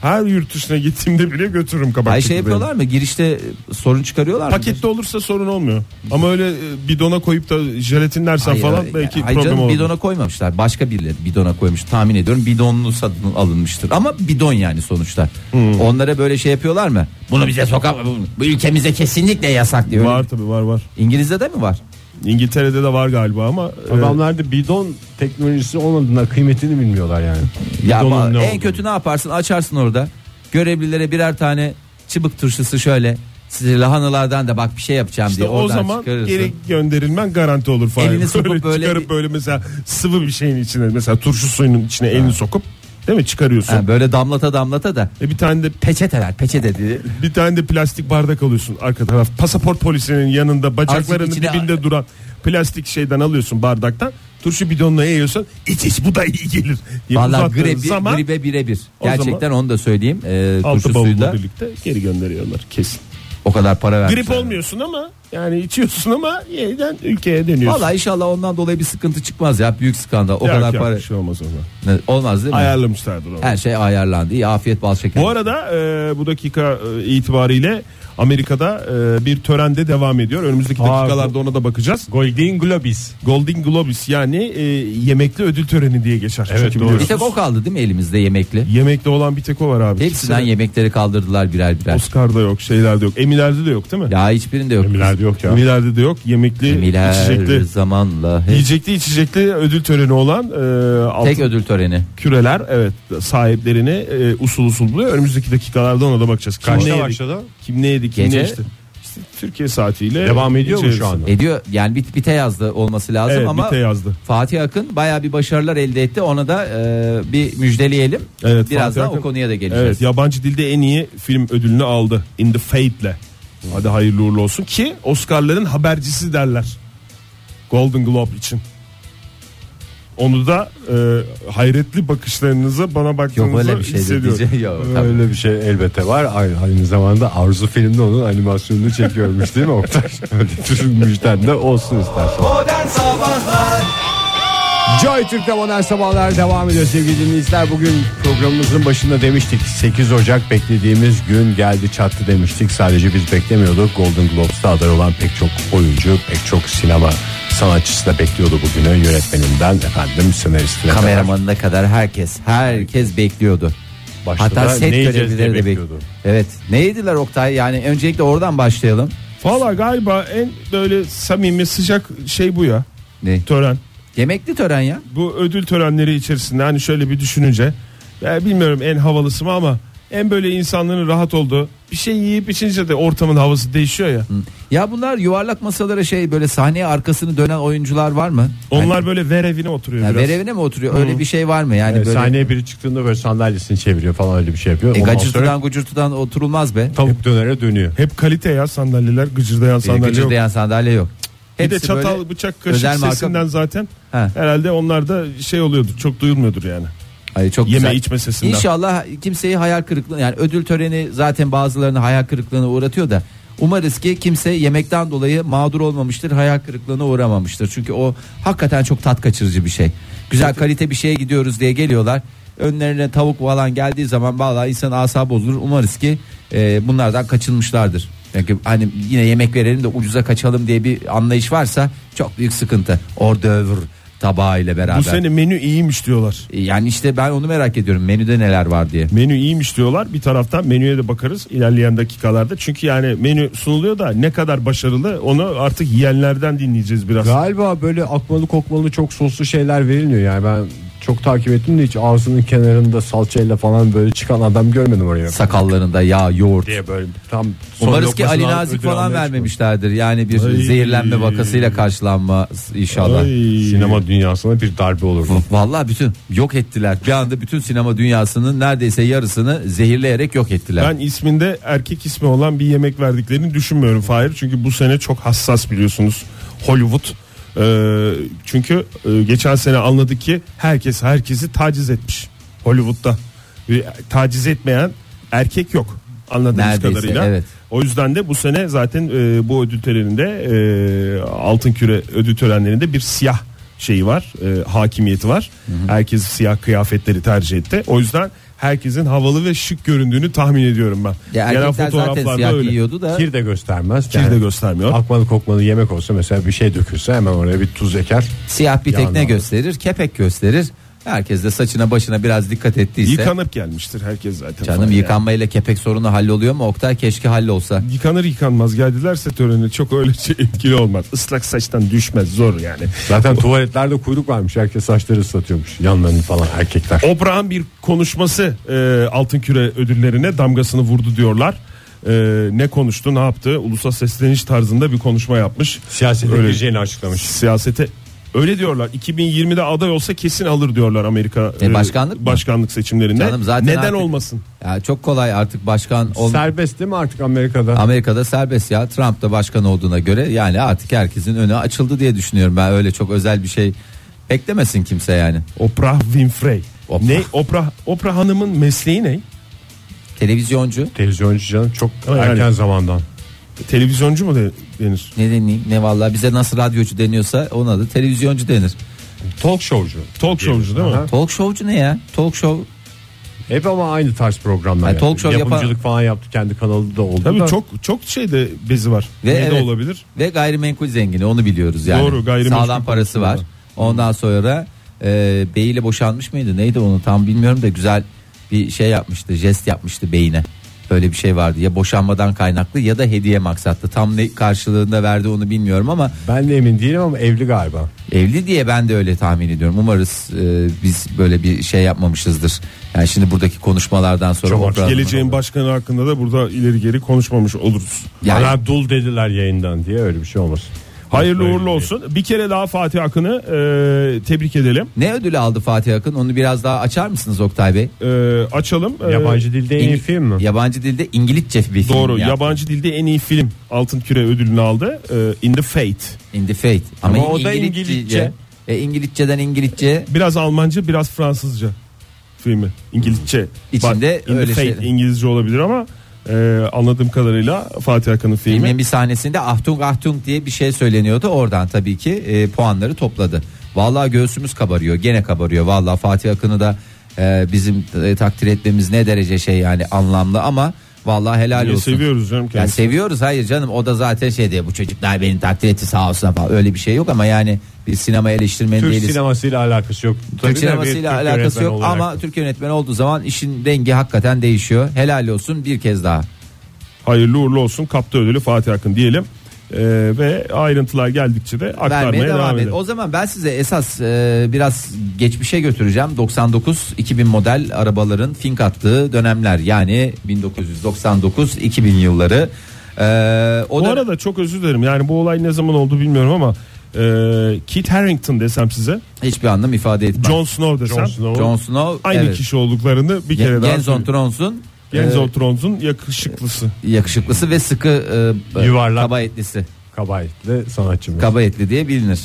Her yurt dışına gittiğimde bile götürürüm kabak
Ay şey
çekirdeğini.
yapıyorlar mı? Girişte e, sorun çıkarıyorlar mı?
Pakette olursa sorun olmuyor. Ama öyle e, bidona koyup da jelatinlersen
Hayır,
falan
hayır.
belki
Hayır
problem
canım,
olur.
bidona koymamışlar. Başka birileri bidona koymuş. Tahmin ediyorum bidonlu satın alınmıştır. Ama bidon yani sonuçta.
Hmm.
Onlara böyle şey yapıyorlar mı? Bunu bize sokak bu ülkemize kesinlikle yasak diyor.
Var tabii var var.
İngiliz'de de mi var?
İngiltere'de de var galiba ama e,
Adamlar da bidon teknolojisi olmadığına kıymetini bilmiyorlar yani.
Ya
Bidonun
ba-
ne
en
olduğunu.
kötü şey ne yaparsın? Açarsın orada. Görevlilere birer tane çıbık turşusu şöyle size lahanalardan da bak bir şey yapacağım
işte
diye
o
oradan
zaman
çıkarırsın.
geri gönderilmen garanti olur falan.
Elini sokup böyle
çıkarıp
bir-
böyle mesela sıvı bir şeyin içine mesela turşu suyunun içine elini sokup değil mi çıkarıyorsun.
Ha, böyle damlata damlata da
E bir tane de
peçeteler peçete diye.
bir tane de plastik bardak alıyorsun arka taraf. Pasaport polisinin yanında bacaklarının
içine-
dibinde duran plastik şeyden alıyorsun bardaktan. Turşu bidonuna eğiyorsun. İç iç bu da iyi gelir. diye
Valla
uzattığın
gribi,
zaman
gribe birebir.
O
Gerçekten onu da söyleyeyim. Ee,
altı
turşu suyu
bavulla
da
birlikte geri gönderiyorlar kesin.
o kadar para vermişler.
Grip olmuyorsun ama yani içiyorsun ama yeniden ülkeye dönüyorsun.
Valla inşallah ondan dolayı bir sıkıntı çıkmaz ya. Büyük skandal. O
Yok,
kadar
yok,
para.
bir şey olmaz ona.
Ne- Olmaz değil mi?
Ayarlamışlardır onu.
Her şey ayarlandı. İyi afiyet bal şeker.
Bu arada e, bu dakika e, itibariyle Amerika'da e, bir törende devam ediyor. Önümüzdeki
Aa,
dakikalarda ona da bakacağız.
Golden Globes.
Golden Globes yani e, yemekli ödül töreni diye geçer.
Evet,
Çünkü
doğru.
bir
biliyorsunuz,
tek o kaldı değil mi elimizde yemekli?
Yemekli olan bir tek o var abi.
Hepsinden
Kimse-
yemekleri kaldırdılar birer birer.
Oscar'da yok, şeylerde yok. Emiler'de de yok değil mi?
Ya hiçbirinde yok.
Emiler'de yok ya.
Emiler'de de yok. Yemekli,
Miler
içecekli,
zamanla. hep-
yiyecekli, içecekli ödül töreni olan e, altın
Tek ödül töreni.
küreler evet sahiplerini e, usul usul buluyor. Önümüzdeki dakikalarda ona da bakacağız. Kim ne
Kaçta
yedi?
başladı?
Kim ne yedi? Kim
Gece.
ne içti? İşte Türkiye saatiyle
Devam ediyor mu
gece
şu
yarısı.
anda?
Ediyor E yani bit bite yazdı olması lazım
Evet,
ama
bite yazdı.
Fatih Akın bayağı bir başarılar elde etti. Ona da e, bir müjdeleyelim.
Evet,
Birazdan
Fatih Akın-
o konuya da geleceğiz.
Evet yabancı dilde en iyi film ödülünü aldı. In the Fate'le.
Hmm.
Hadi hayırlı uğurlu olsun ki Oscar'ların habercisi derler. Golden Globe için. Onu da e, hayretli bakışlarınızı bana baktığınızda
Yok öyle bir şey de
hissediyorum.
diyeceğim. Yok, tabii.
Öyle bir şey elbette var. Aynı, aynı zamanda Arzu filmde onun animasyonunu çekiyormuş değil mi Oktay? Öyle düşünmüşten de olsun istersen.
Modern Sabahlar
Joy Türk'te modern sabahlar devam ediyor sevgili dinleyiciler. Bugün programımızın başında demiştik 8 Ocak beklediğimiz gün geldi çattı demiştik. Sadece biz beklemiyorduk. Golden Globes'ta aday olan pek çok oyuncu, pek çok sinema sanatçısı da bekliyordu bugünü. Yönetmeninden efendim senaristine kadar.
Kameramanına kadar herkes herkes bekliyordu.
Başta
Hatta
da
set
ne yiyeceğiz
görevlileri
diye
de
bekliyordu.
bekliyordu. Evet. Ne yediler Oktay? Yani öncelikle oradan başlayalım.
Valla galiba en böyle samimi sıcak şey bu ya.
Ne?
Tören.
Yemekli tören ya.
bu ödül törenleri içerisinde hani şöyle bir düşününce ya bilmiyorum en havalısı mı ama en böyle insanların rahat olduğu bir şey yiyip içince de ortamın havası değişiyor ya.
Ya bunlar yuvarlak masalara şey böyle sahneye arkasını dönen oyuncular var mı?
Onlar böyle ver evine oturuyor
Yani
biraz.
verevine mi oturuyor? Öyle bir şey var mı? Yani
Evet,
böyle
Sahneye biri çıktığında böyle sandalyesini çeviriyor falan öyle bir şey yapıyor.
e,
Ondan sonra
gacırtıdan gucurtudan oturulmaz be.
tavuk dönere dönüyor.
Hep kalite ya sandalyeler gıcırdayan sandalye yok.
Gıcırdayan sandalye yok.
Bir de
Hepsi
çatal
böyle
bıçak kaşık
özel marka-
sesinden zaten
Ha.
herhalde onlar da şey oluyordur çok duyulmuyordur yani.
Ay çok
Yeme
güzel.
içme sesinden.
İnşallah kimseyi hayal kırıklığı yani ödül töreni zaten bazılarını hayal kırıklığına uğratıyor da umarız ki kimse yemekten dolayı mağdur olmamıştır, hayal kırıklığına uğramamıştır. Çünkü o hakikaten çok tat kaçırıcı bir şey. Güzel kalite bir şeye gidiyoruz diye geliyorlar. Önlerine tavuk falan geldiği zaman vallahi insan asabı bozulur. Umarız ki e, bunlardan kaçınmışlardır. Çünkü hani yine yemek verelim de ucuza kaçalım diye bir anlayış varsa çok büyük sıkıntı. Ordövr tabağı ile beraber.
Bu sene menü iyiymiş diyorlar.
Yani işte ben onu merak ediyorum. Menüde neler var diye.
Menü iyiymiş diyorlar. Bir taraftan menüye de bakarız ilerleyen dakikalarda. Çünkü yani menü sunuluyor da ne kadar başarılı onu artık yiyenlerden dinleyeceğiz biraz.
Galiba böyle akmalı kokmalı çok soslu şeyler verilmiyor yani ben çok takip ettim de hiç ağzının kenarında salçayla falan böyle çıkan adam görmedim oraya.
Sakallarında yağ, yoğurt.
diye böyle tam son
Umarız ki Ali
lokmasını alıp
Nazik
ödül
falan
almaya
vermemişlerdir. Yani bir
Ay.
zehirlenme vakasıyla karşılanma inşallah.
Ay.
çıkıyor. Sinema dünyasına bir darbe olur mu?
Vallahi bütün yok ettiler. Bir anda bütün sinema dünyasının neredeyse yarısını zehirleyerek yok ettiler.
Ben isminde erkek ismi olan bir yemek verdiklerini düşünmüyorum Fahir. Çünkü bu sene çok hassas biliyorsunuz Hollywood. Ee, çünkü e, geçen sene anladık ki herkes herkesi taciz etmiş Hollywood'da. Bir taciz etmeyen erkek yok anladığımız
Neredeyse,
kadarıyla.
evet.
O yüzden de bu sene zaten e, bu ödül töreninde e, altın küre ödül törenlerinde bir siyah şeyi var e, hakimiyeti var. Herkes siyah kıyafetleri tercih etti. O yüzden herkesin havalı ve şık göründüğünü tahmin ediyorum ben.
ya
Gelen
erkekler zaten siyah giyiyordu da
Kir de göstermez.
Kir de göstermiyor.
Akmalı kokmalı yemek olsa mesela bir şey dökülse hemen oraya bir tuz eker.
siyah bir
Yağını
tekne
aldı.
gösterir, kepek gösterir. Herkes de saçına başına biraz dikkat ettiyse.
Yıkanıp gelmiştir herkes zaten.
Canım
Falan yani.
yıkanmayla kepek sorunu halloluyor mu? Oktay keşke hallolsa.
Yıkanır yıkanmaz geldilerse törene çok öyle şey etkili olmaz. Islak saçtan düşmez zor yani.
Zaten tuvaletlerde kuyruk varmış. Herkes saçları ıslatıyormuş. Yanlarını falan erkekler.
Oprah'ın bir konuşması e, altın küre ödüllerine damgasını vurdu diyorlar. E, ne konuştu ne yaptı ulusal sesleniş tarzında bir konuşma yapmış.
Siyasete
Öyle.
gireceğini açıklamış.
Siyasete öyle diyorlar 2020'de aday olsa kesin alır diyorlar Amerika
E, başkanlık mı?
başkanlık seçimlerinde.
Canım zaten
Neden
artık-
olmasın?
Ya çok kolay artık başkan ol-
Serbest değil mi artık Amerika'da?
Amerika'da serbest ya Trump da başkan olduğuna göre yani artık herkesin önü açıldı diye düşünüyorum ben öyle çok özel bir şey beklemesin kimse yani
Oprah Winfrey.
Oprah.
Ne Oprah Oprah Hanım'ın mesleği ne?
televizyoncu
Televizyoncu canım çok
Ama
erken
yani-
zamandan.
Televizyoncu mu de- denir?
ne deneyim ne vallahi bize nasıl radyocu deniyorsa ona da televizyoncu denir
Talk showcu.
Talk showcu değil mi?
Aha.
talk showcu ne ya talk show
Hep ama aynı tarz programlar.
Yani talk
yani.
show yapan-
Yapımcılık falan yaptı. Kendi kanalı da oldu.
Tabii
da.
çok çok şeyde bezi var.
Ve
ne de
evet.
olabilir?
ve gayrimenkul zengini onu biliyoruz yani
Doğru, gayrimenkul
sağlam parası var
konusunda.
ondan sonra e, beyiyle boşanmış mıydı neydi onu tam bilmiyorum da güzel bir şey yapmıştı jest yapmıştı beyine böyle bir şey vardı ya boşanmadan kaynaklı ya da hediye maksatlı tam ne karşılığında verdi onu bilmiyorum ama
Ben de emin değilim ama evli galiba.
Evli diye ben de öyle tahmin ediyorum. Umarız e, biz böyle bir şey yapmamışızdır. Yani şimdi buradaki konuşmalardan sonra
Çok
Oprah-
Geleceğin başkanı hakkında da burada ileri geri konuşmamış oluruz.
Yani-
Bana dul dediler yayından diye öyle bir şey olmasın.
Hayırlı
Öyle
uğurlu
bir-
olsun. Bir kere daha Fatih Akın'ı e, tebrik edelim.
Ne ödülü aldı Fatih Akın? Onu biraz daha açar mısınız Oktay Bey?
E, açalım. E,
Yabancı dilde en iyi film mi?
Yabancı dilde İngilizce bir film.
Doğru.
yaptı.
Yabancı dilde en iyi film Altın Küre ödülünü aldı. E, In the Fate.
In the Fate. Ama,
Ama o da
İngilizce.
İngilizce.
E, İngilizceden İngilizce.
Biraz Almanca, biraz Fransızca filmi. İngilizce.
İçinde
Bak, In
öyle
the Fate
şeyler.
İngilizce olabilir ama e, anladığım kadarıyla Fatih Akın'ın filmi.
Filmin bir sahnesinde Ahtung Ahtung diye bir şey söyleniyordu. Oradan tabii ki e, puanları topladı. Vallahi göğsümüz kabarıyor. Gene kabarıyor. Vallahi Fatih Akın'ı da e, bizim e, takdir etmemiz ne derece şey yani anlamlı ama vallahi helal
Niye
olsun.
seviyoruz canım
Ya
kendisini.
seviyoruz hayır canım o da zaten şey diye bu çocuklar beni takdir etti sağ olsun falan öyle bir şey yok ama yani bir sinema eleştirmeni
Türk
değiliz.
sinemasıyla alakası yok. Tabii
Türk
de bir
sinemasıyla
Türk
alakası
yönetmen
yok
olarak.
ama Türk yönetmeni olduğu zaman işin rengi hakikaten değişiyor. Helal olsun bir kez daha.
Hayırlı uğurlu olsun. Kaptı ödülü Fatih Akın diyelim. Ee, ve ayrıntılar geldikçe de aktarmaya
vermeye
devam,
devam et.
edelim.
O zaman ben size esas e, biraz geçmişe götüreceğim. 99-2000 model arabaların fink attığı dönemler yani 1999-2000 yılları. E, o
Bu
dönem-
arada çok özür dilerim. Yani bu olay ne zaman oldu bilmiyorum ama e, Kit Harington desem size,
hiçbir anlam ifade etmez.
Jon Snow desem.
Jon Snow
Aynı
evet.
kişi olduklarını bir kere
Gen-
daha
Genzon
söyleyeyim.
Trons'un
Genzo
e,
Trons'un yakışıklısı.
yakışıklısı ve sıkı e,
Yuvarlak.
kaba etlisi.
Kabahatli sanatçımız.
Kaba etli diye bilinir.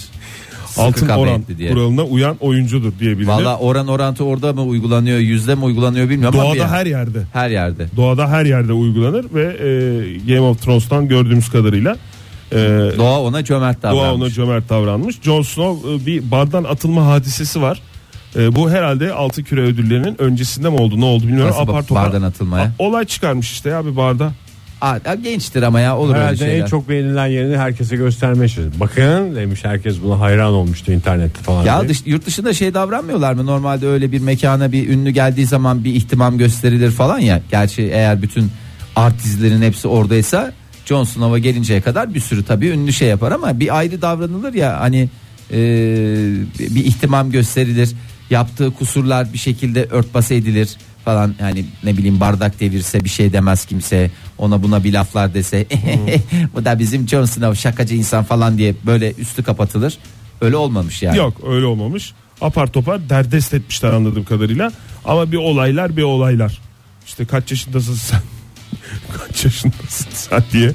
Sıkı
Altın
kaba
oran
etli diye.
kuralına uyan oyuncudur diye bilinir.
Valla oran orantı orada mı uygulanıyor yüzde mi uygulanıyor bilmiyorum ama bir-
Doğada her yerde.
her yerde.
Doğada her yerde uygulanır ve e, Game of Thrones'tan gördüğümüz kadarıyla e,
Doğa ona cömert davranmış.
Doğa ona cömert davranmış. Jon Snow e, bir bardan atılma hadisesi var. E, bu herhalde altı küre ödüllerinin öncesinde mi oldu ne oldu bilmiyorum.
Nasıl
Apar topar-
bardan atılmaya?
A- olay çıkarmış işte abi barda.
Aa, ya gençtir ama ya olur öyle
Herhalde
şeyler.
en çok beğenilen yerini herkese göstermeye çalışıyor. Bakın demiş herkes buna hayran olmuştu internette falan.
Ya
diye.
dış, yurt dışında şey davranmıyorlar mı? Normalde öyle bir mekana bir ünlü geldiği zaman bir ihtimam gösterilir falan ya. Gerçi eğer bütün artistlerin hepsi oradaysa John Snow'a gelinceye kadar bir sürü tabii ünlü şey yapar ama bir ayrı davranılır ya hani e, bir ihtimam gösterilir. Yaptığı kusurlar bir şekilde örtbas edilir falan yani ne bileyim bardak devirse bir şey demez kimse ona buna bir laflar dese bu da bizim John Snow şakacı insan falan diye böyle üstü kapatılır öyle olmamış yani.
Yok öyle olmamış. Apar topar derdest etmişler anladığım kadarıyla. Ama bir olaylar bir olaylar. İşte kaç yaşındasın sen? kaç yaşındasın sen diye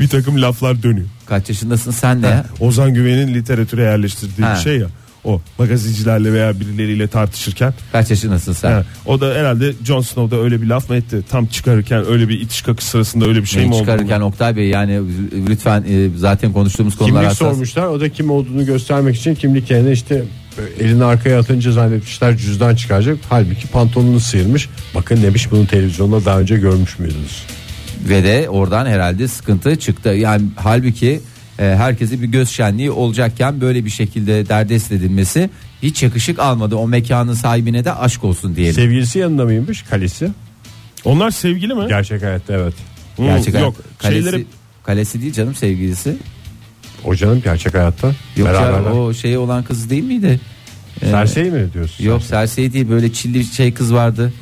bir takım laflar dönüyor.
Kaç yaşındasın sen de ya?
Ozan Güven'in literatüre yerleştirdiği
Ha.
bir şey ya. O magazincilerle veya birileriyle tartışırken
Kaç yaşındasın sen?
Ha, o da herhalde Jon Snow'da öyle bir laf mı etti? Tam çıkarırken öyle bir itiş kakış sırasında öyle bir şey mi
Neyi
oldu?
çıkarırken Oktay Bey yani lütfen e, zaten konuştuğumuz konular
Kimlik
hassas.
sormuşlar. O da kim olduğunu göstermek için kimlik yerine işte elini arkaya atınca zannetmişler cüzdan çıkaracak. Halbuki pantolonunu sıyırmış. Bakın demiş bunu televizyonda daha önce görmüş müydünüz?
Ve de oradan herhalde sıkıntı çıktı. Yani halbuki e, herkese bir göz şenliği olacakken böyle bir şekilde derdest edilmesi hiç yakışık almadı. O mekanın sahibine de aşk olsun diyelim.
Şey,
Sevgilisi yanında mıymış? Kalesi.
Onlar sevgili mi?
Gerçek hayatta evet.
Hı,
Gerçek hayat-
yok.
kalesi,
Şeyleri
kalesi değil canım sevgilisi.
O canım gerçek hayatta.
Yok ya,
Beraberler.
o şey olan kız değil miydi? Ee,
Serseri mi diyorsun?
Yok
Şey.
Serseri değil böyle çilli şey kız vardı.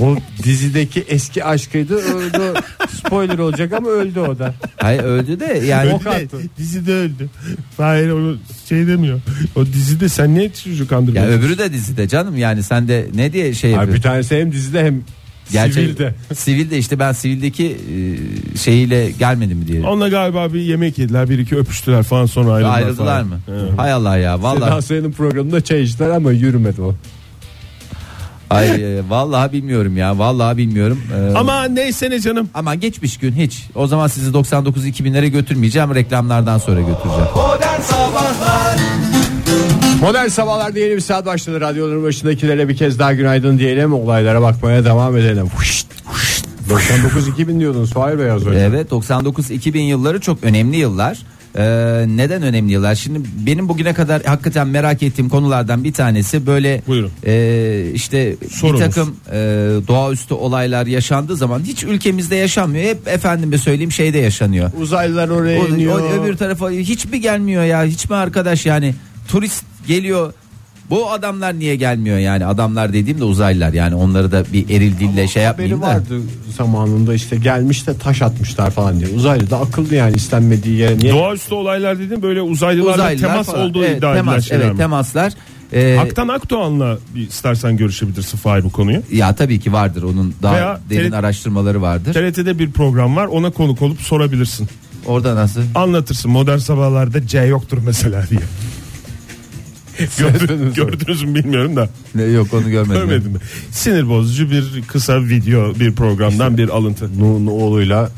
O dizideki eski aşkıydı. Öldü. Spoiler olacak ama öldü o da.
Hayır öldü de yani
Öldü de, dizide öldü. Hayır onu şey demiyor. O dizide sen niye çocuk
Ya
kandırıyorsun?
öbürü de dizide canım yani sen de ne diye şey
Abi bir
yapıyorsun?
tanesi hem dizide hem
Gerçek-
sivilde.
Sivilde işte ben sivildeki e, şeyiyle gelmedim mi diye.
Onunla galiba bir yemek yediler bir iki öpüştüler falan sonra ayrıldılar.
Ayrıldılar
falan.
mı? Hay Allah ya
Seda
vallahi
Sayan'ın programında çay içtiler ama yürümedi o.
ay e, vallahi bilmiyorum ya vallahi bilmiyorum. Ee,
Ama neyse ne canım.
ama geçmiş gün hiç. O zaman sizi 99 2000'lere götürmeyeceğim. Reklamlardan sonra götüreceğim.
Modern Sabahlar
Modern sabahlarda yeni bir saat başladı. Radyoların başındakilere bir kez daha günaydın diyelim. Olaylara bakmaya devam edelim. Huşt, huşt. 99-2000 diyordunuz Fahir Bey az önce.
Evet 99 2000 yılları çok önemli yıllar. Ee, neden önemli yıllar? Şimdi benim bugüne kadar hakikaten merak ettiğim konulardan bir tanesi böyle
Buyurun.
e, işte
Sorunuz.
bir takım e, doğaüstü olaylar yaşandığı zaman hiç ülkemizde yaşanmıyor. Hep efendime söyleyeyim şeyde yaşanıyor.
Uzaylılar oraya
O-
iniyor.
o öbür tarafa hiç mi gelmiyor ya? Hiç mi arkadaş yani turist geliyor. Bu adamlar niye gelmiyor yani? Adamlar dediğim de uzaylılar yani onları da bir eril dille şey
Haberi
yapmayayım da.
vardı zamanında işte gelmiş de taş atmışlar falan diye. Uzaylı da akıllı yani istenmediği yere. Niye?
Doğaüstü olaylar dediğin böyle uzaylılarla
Uzaylılar
temas
falan.
olduğu
Evet,
iddia edilen
temas,
şeyler
evet,
mi?
temaslar. Ee,
Aktan Akdoğan'la bir istersen görüşebilirsin Fahir bu konuyu.
ya tabii ki vardır onun daha
Veya
derin
tele-
araştırmaları vardır.
TRT'de bir program var ona konuk olup sorabilirsin.
Orada nasıl?
Anlatırsın modern sabahlarda C yoktur mesela diye. Gördün, gördünüz mü bilmiyorum da
Ne, yok onu görmedim.
görmedim mi? Sinir bozucu bir kısa video bir programdan bir alıntı.
Nuh'un oğluyla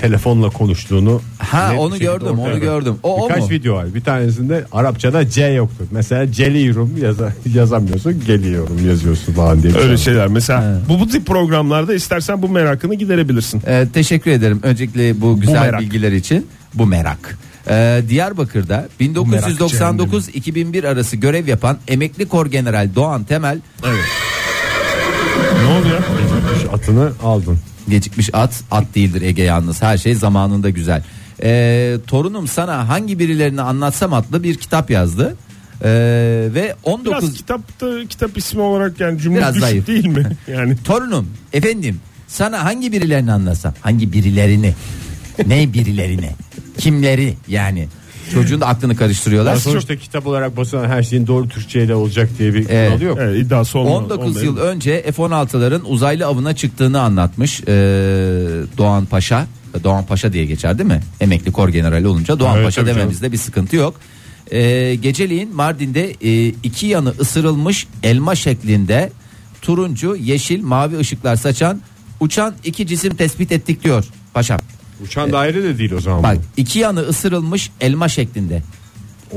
telefonla konuştuğunu
Ha
net bir
onu
şekilde
gördüm
ortaya
onu
koydu.
gördüm. O, o
Birkaç
mu?
video var. Bir tanesinde Arapçada C yoktur. Mesela geliyorum yaza- yazamıyorsun. Geliyorum yazıyorsun falan diye. bir
Öyle
şey.
şeyler mesela bu, bu tip programlarda istersen bu merakını giderebilirsin.
Ee, teşekkür ederim. Öncelikle bu güzel
merak.
bilgiler için. Bu merak. Ee, Diyarbakır'da 1999-2001 arası görev yapan emekli kor general Doğan Temel
Ne oluyor?
Atını aldın.
gecikmiş at at değildir Ege yalnız her şey zamanında güzel. Ee, torunum sana hangi birilerini anlatsam adlı bir kitap yazdı. Ee, ve 19
Biraz kitapta kitap ismi olarak yani cümle
Biraz
düşük
zayıf.
değil mi? Yani
torunum efendim sana hangi birilerini anlatsam hangi birilerini ne birilerini kimleri yani çocuğun da aklını karıştırıyorlar.
Yani sonuçta kitap olarak basılan her şeyin doğru Türkçeyle olacak diye bir
Evet.
kuralı yok.
evet, iddiası olma-
19
olmayan.
yıl önce F-16'ların uzaylı avına çıktığını anlatmış ee, Doğan Paşa. Doğan Paşa diye geçer değil mi? Emekli kor generali olunca Doğan
Evet,
Paşa
tabii
dememizde bir sıkıntı yok. Ee, geceliğin Mardin'de e, iki yanı ısırılmış elma şeklinde turuncu, yeşil, mavi ışıklar saçan uçan iki cisim tespit ettik diyor paşam.
Uçan daire de değil o zaman.
E, Bak
bu.
iki yanı ısırılmış elma şeklinde.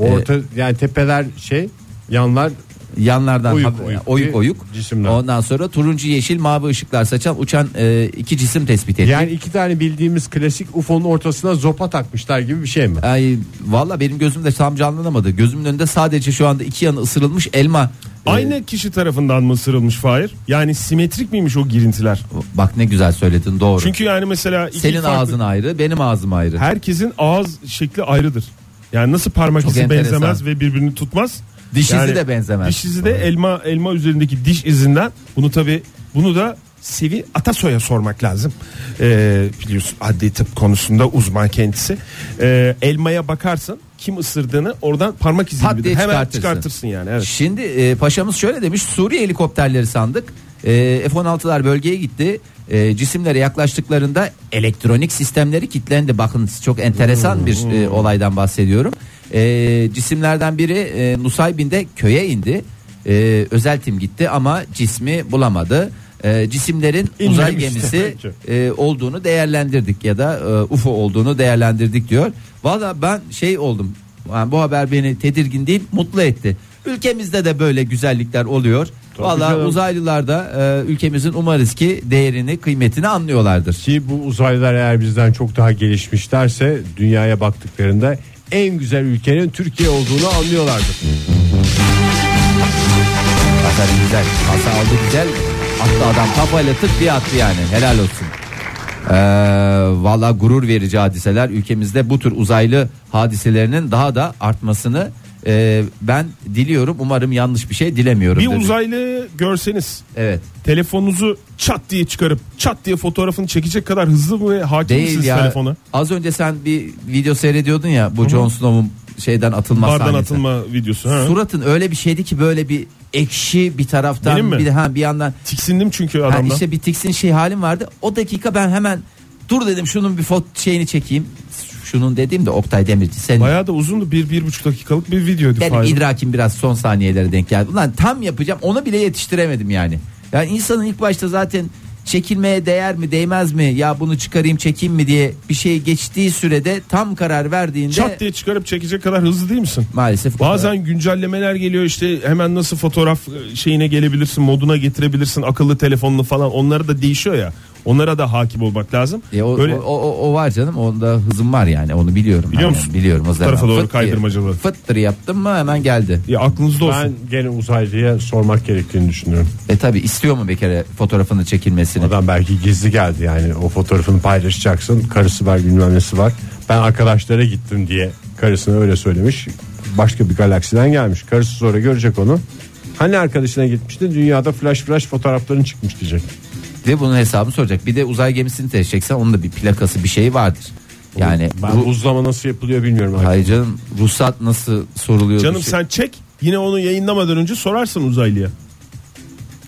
e,
Orta yani tepeler şey yanlar
Yanlardan
Oyuk,
hak-
oyuk
oyuk,
bir
oyuk.
cisimler.
Ondan sonra turuncu, yeşil, mavi ışıklar saçan uçan e, iki cisim tespit ettik.
yani iki tane bildiğimiz klasik UFO'nun ortasına zopa takmışlar gibi bir şey mi?
Ay valla benim gözümde tam canlanamadı. Gözümün önünde sadece şu anda iki yanı ısırılmış elma. E,
Aynı kişi tarafından mı ısırılmış Fahir? Yani simetrik miymiş o girintiler?
bak ne güzel söyledin doğru.
Çünkü yani mesela iki
senin
farklı-
ağzın ayrı, benim ağzım ayrı.
herkesin ağız şekli ayrıdır. Yani nasıl parmak
Çok
izi
enteresan.
benzemez ve birbirini tutmaz.
Diş izi
Yani
de benzemez.
Diş izi de elma elma üzerindeki diş izinden bunu tabi bunu da Sevi Atasoy'a sormak lazım. Ee, biliyorsun adli tıp konusunda uzman kendisi. Ee, elmaya bakarsın kim ısırdığını oradan parmak izi
Pat
gibi
diye
hemen
çıkartırsın.
çıkartırsın. yani. Evet.
Şimdi e, paşamız şöyle demiş Suriye helikopterleri sandık. E, F-16'lar bölgeye gitti. E, cisimlere yaklaştıklarında elektronik sistemleri kilitlendi. Bakın çok enteresan bir
Hmm.
e, olaydan bahsediyorum. E, cisimlerden biri e, Nusaybin'de köye indi. E, özel tim gitti ama cismi bulamadı. E, cisimlerin uzay
İnmemiş
gemisi
demek ki.
e, olduğunu değerlendirdik ya da e, UFO olduğunu değerlendirdik diyor. Valla ben şey oldum. Yani bu haber beni tedirgin değil mutlu etti. Ülkemizde de böyle güzellikler oluyor. Valla
canım.
uzaylılar da e, ülkemizin umarız ki değerini kıymetini anlıyorlardır.
Ki bu uzaylılar eğer bizden çok daha gelişmişlerse dünyaya baktıklarında en güzel ülkenin Türkiye olduğunu anlıyorlardır.
Hasar güzel. Hasar aldı güzel. Attı adam kafayla tık diye attı yani. Helal olsun. Ee, Valla gurur verici hadiseler ülkemizde bu tür uzaylı hadiselerinin daha da artmasını e, ben diliyorum. Umarım yanlış bir şey dilemiyorum.
Bir
dedi.
uzaylı görseniz
Evet.
telefonunuzu çat diye çıkarıp çat diye fotoğrafını çekecek kadar hızlı mı ve hakim
Değil
misiniz
ya.
telefona?
Az önce sen bir video seyrediyordun ya bu Jon Snow'un şeyden atılma
Bardan
sahnesi.
atılma videosu. Ha.
Suratın öyle bir şeydi ki böyle bir ekşi bir taraftan
Benim mi?
bir ha bir yandan
Tiksindim çünkü
Ha,
adamdan.
işte bir tiksin şey halim vardı. O dakika ben hemen dur dedim şunun bir foto şeyini çekeyim. Şunun dediğim de Oktay Demirci senin.
Bayağı da uzundu. Bir, bir buçuk dakikalık bir videoydu.
Benim
Fahir.
idrakim biraz son saniyelere denk geldi. Ulan tam yapacağım onu bile yetiştiremedim yani. Yani insanın ilk başta zaten çekilmeye değer mi değmez mi ya bunu çıkarayım çekeyim mi diye bir şey geçtiği sürede tam karar verdiğinde
Çat diye çıkarıp çekecek kadar hızlı değil misin?
maalesef
Bazen güncellemeler geliyor işte hemen nasıl fotoğraf e, şeyine gelebilirsin moduna getirebilirsin akıllı telefonunu falan onları da değişiyor ya onlara da hakim olmak lazım.
E, o,
Böyle
o, o, o var canım onda hızım var yani onu biliyorum.
Biliyor
Aynen,
musun?
Biliyorum. O zaman
tarafa doğru
fıt diye-
kaydırmacalı.
Fıttır yaptım mı hemen geldi.
ya aklınızda olsun.
Ben gene uzaylıya sormak gerektiğini düşünüyorum.
E tabi istiyor mu bir kere fotoğrafının çekilmesini?
Adam belki gizli geldi yani o fotoğrafını paylaşacaksın. Karısı var bilmem nesi var. Ben arkadaşlara gittim diye karısına öyle söylemiş. Başka bir galaksiden gelmiş. Karısı sonra görecek onu. Hani arkadaşına gitmişti dünyada flash flash fotoğrafların çıkmış diyecek.
Ve bunun hesabını soracak. Bir de uzay gemisini test çeksen onun da bir plakası bir şeyi vardır. Yani
Ben
Ru-
uzlama nasıl yapılıyor bilmiyorum.
Hayır canım ruhsat nasıl soruluyor?
Canım
Bir şey-
sen çek yine onu yayınlamadan önce sorarsın uzaylıya.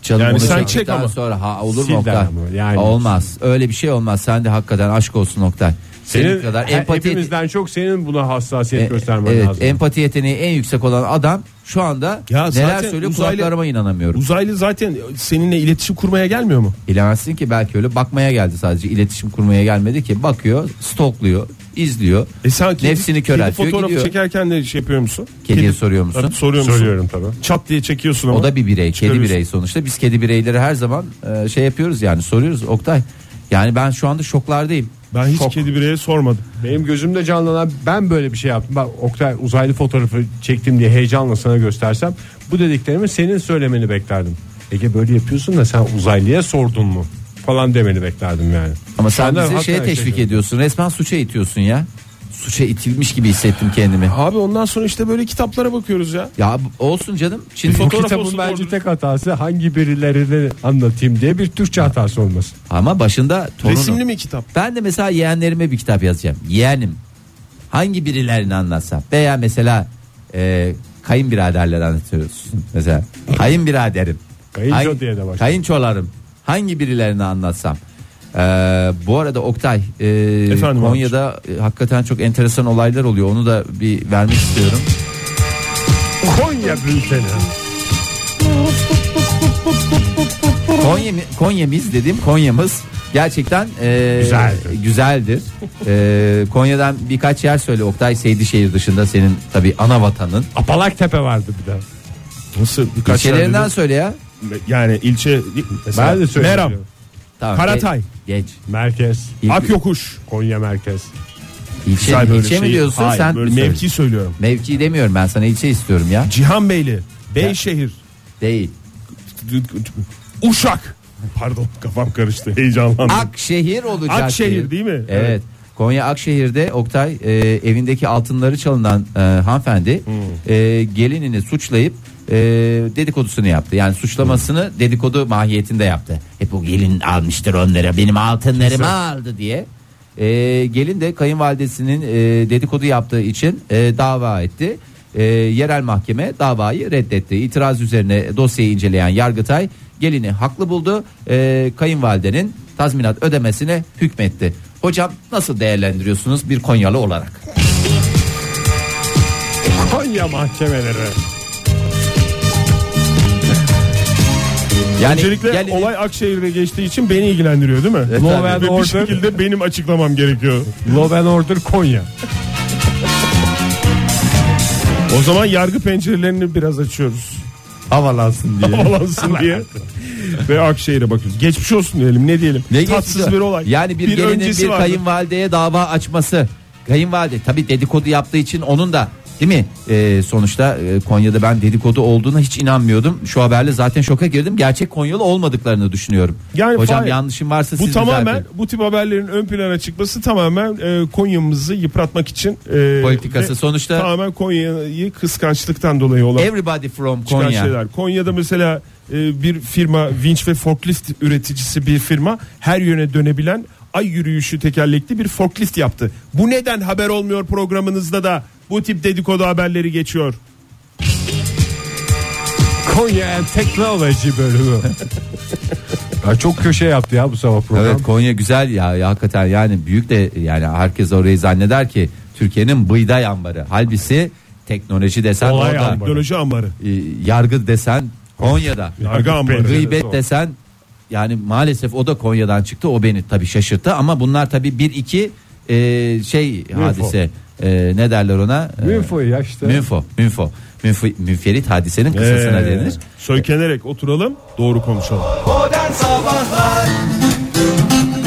Canım
yani
onu
sen
çektikten
çek ama.
Sonra ha olur mu
Sil der
Oktay?
ama yani.
Olmaz. Öyle bir şey olmaz. Sen de hakikaten aşk olsun Oktay. Senin,
Senin
kadar
he-
empati
hepimizden çok senin buna hassasiyet
E,
göstermen
evet,
lazım.
empati yeteneği en yüksek olan adam şu anda
Ya
neler
zaten
söylüyor
uzaylı-
kulaklarıma inanamıyorum.
Uzaylı zaten seninle iletişim kurmaya gelmiyor mu?
Bilemezsin ki belki öyle bakmaya geldi sadece iletişim kurmaya gelmedi ki bakıyor stokluyor izliyor
E sen kedi,
Nefsini
kedi
köreltiyor,
fotoğrafı
gidiyor.
çekerken de şey yapıyor musun?
Kediye
Kedi-
soruyor musun?
Tabii soruyor musun?
Söylüyorum tabii.
Çat diye çekiyorsun ama.
o da bir birey kedi
Çıkarıyorsun.
birey sonuçta biz kedi bireyleri her zaman e, şey yapıyoruz yani soruyoruz Oktay yani ben şu anda şoklardayım
Ben hiç
Şok.
kedi bireye sormadım.
Benim gözümde canlanan ben böyle bir şey yaptım. Bak Oktay uzaylı fotoğrafı çektim diye heyecanla sana göstersem bu dediklerimi senin söylemeni beklerdim. Ege böyle yapıyorsun da sen uzaylıya sordun mu? falan demeni beklerdim yani.
ama
Şu
sen
anda
bizi şeye
hakikaten
teşvik
şey-
ediyorsun resmen suça itiyorsun ya suça itilmiş gibi hissettim kendimi.
Abi ondan sonra işte böyle kitaplara bakıyoruz ya.
Ya bu- olsun canım. Çin
Bu
Fotoğraf
kitabın
olsun
bence
doğrudur.
tek hatası hangi birilerini anlatayım diye bir Türkçe hatası olması.
ama başında torunu.
Resimli mi kitap?
Ben de mesela yeğenlerime bir kitap yazacağım. Yeğenim hangi birilerini anlatsam veya mesela e, kayınbiraderler anlatıyoruz. Mesela kayınbiraderim.
Kayınço
Hangi-
diye de başlıyor.
Kayınçolarım hangi birilerini anlatsam. E, bu arada Oktay e,
Efendim
Konya'da e, hakikaten çok enteresan olaylar oluyor. Onu da bir vermek istiyorum.
Konya bülteni.
Konya Konya'mız dediğim Konya'mız gerçekten e,
Güzeldir.
güzeldir. E, Konya'dan birkaç yer söyle Oktay Seydişehir dışında senin tabi ana vatanın.
Apalak Tepe vardı bir de.
Nasıl birkaç
İlçelerinden
yerde
söyle ya.
de- yani ilçe mesela
Ben de söyleyeyim.
Meram,
Tamam,
Karatay.
ge- Geç.
Merkez.
İlk-
Akyokuş.
Konya merkez. şey-
İlçe,
Say böyle
ilçe mi
şeyi.
diyorsun
Hayır,
sen?
böyle
mi söyle?
mevki söylüyorum.
Mevki demiyorum ben sana ilçe istiyorum ya.
Cihanbeyli, Beyşehir,
Değil.
Uşak. Pardon kafam karıştı heyecanlandım.
Akşehir olacak.
Akşehir değil mi?
Evet. Konya Akşehir'de Oktay e, evindeki altınları çalınan e, hanımefendi
Hmm.
e, gelinini suçlayıp e, dedikodusunu yaptı. Yani suçlamasını
Hmm.
dedikodu mahiyetinde yaptı. Hep o gelin almıştır onlara benim altınlarımı aldı diye. E, gelin de kayınvalidesinin e, dedikodu yaptığı için e, dava etti. E, yerel mahkeme davayı reddetti. İtiraz üzerine dosyayı inceleyen Yargıtay gelini haklı buldu. E, kayınvalidenin tazminat ödemesine hükmetti. Hocam nasıl değerlendiriyorsunuz bir Konyalı olarak?
Konya mahkemeleri.
Yani
Öncelikle
gelini-
olay Akşehir'de geçtiği için beni ilgilendiriyor değil mi?
E,
Law and
Ve bir
order.
şekilde benim açıklamam gerekiyor.
Law and Order Konya.
O zaman yargı pencerelerini biraz açıyoruz.
Havalansın diye.
Havalansın diye. Ve Akşehir'e bakıyoruz. Geçmiş olsun diyelim ne diyelim.
Ne
Tatsız
geçti?
bir olay.
Yani bir, gelinin
öncesi
bir
vardı.
kayınvalideye dava açması. Kayınvalide tabi dedikodu yaptığı için onun da değil mi? Ee, sonuçta e, Konya'da ben dedikodu olduğuna hiç inanmıyordum. Şu haberle zaten şoka girdim. Gerçek Konyalı olmadıklarını düşünüyorum.
Yani
Hocam
Fahir,
yanlışım varsa
Bu
siz
tamamen
düzeltin.
bu tip haberlerin ön plana çıkması tamamen e, Konya'mızı yıpratmak için e,
Politikası.
ve
Sonuçta-
tamamen Konya'yı kıskançlıktan dolayı olan
Everybody from
çıkan
Konya.
şeyler. Konya'da mesela e, bir firma vinç ve forklift üreticisi bir firma her yöne dönebilen ay yürüyüşü tekerlekli bir forklift yaptı. Bu neden haber olmuyor programınızda da bu tip dedikodu haberleri geçiyor.
Konya and Technology bölümü. ya çok köşe yaptı ya bu sabah program.
Evet Konya güzel ya, ya hakikaten yani büyük de yani herkes orayı zanneder ki Türkiye'nin bıyday ambarı. Halbisi teknoloji desen
Olay
orada.
teknoloji ambarı.
e, yargı desen Konya'da.
Yargı ambarı.
Gıybet desen yani maalesef o da Konya'dan çıktı. O beni tabii şaşırttı ama bunlar tabii bir iki e, şey hadise. E, ne derler ona? E,
Münfo ya işte.
Münfo. Münfo. Münfo- Münferit hadisenin kısasına
Ee,
denir.
Sökenerek oturalım doğru konuşalım.
Modern Sabahlar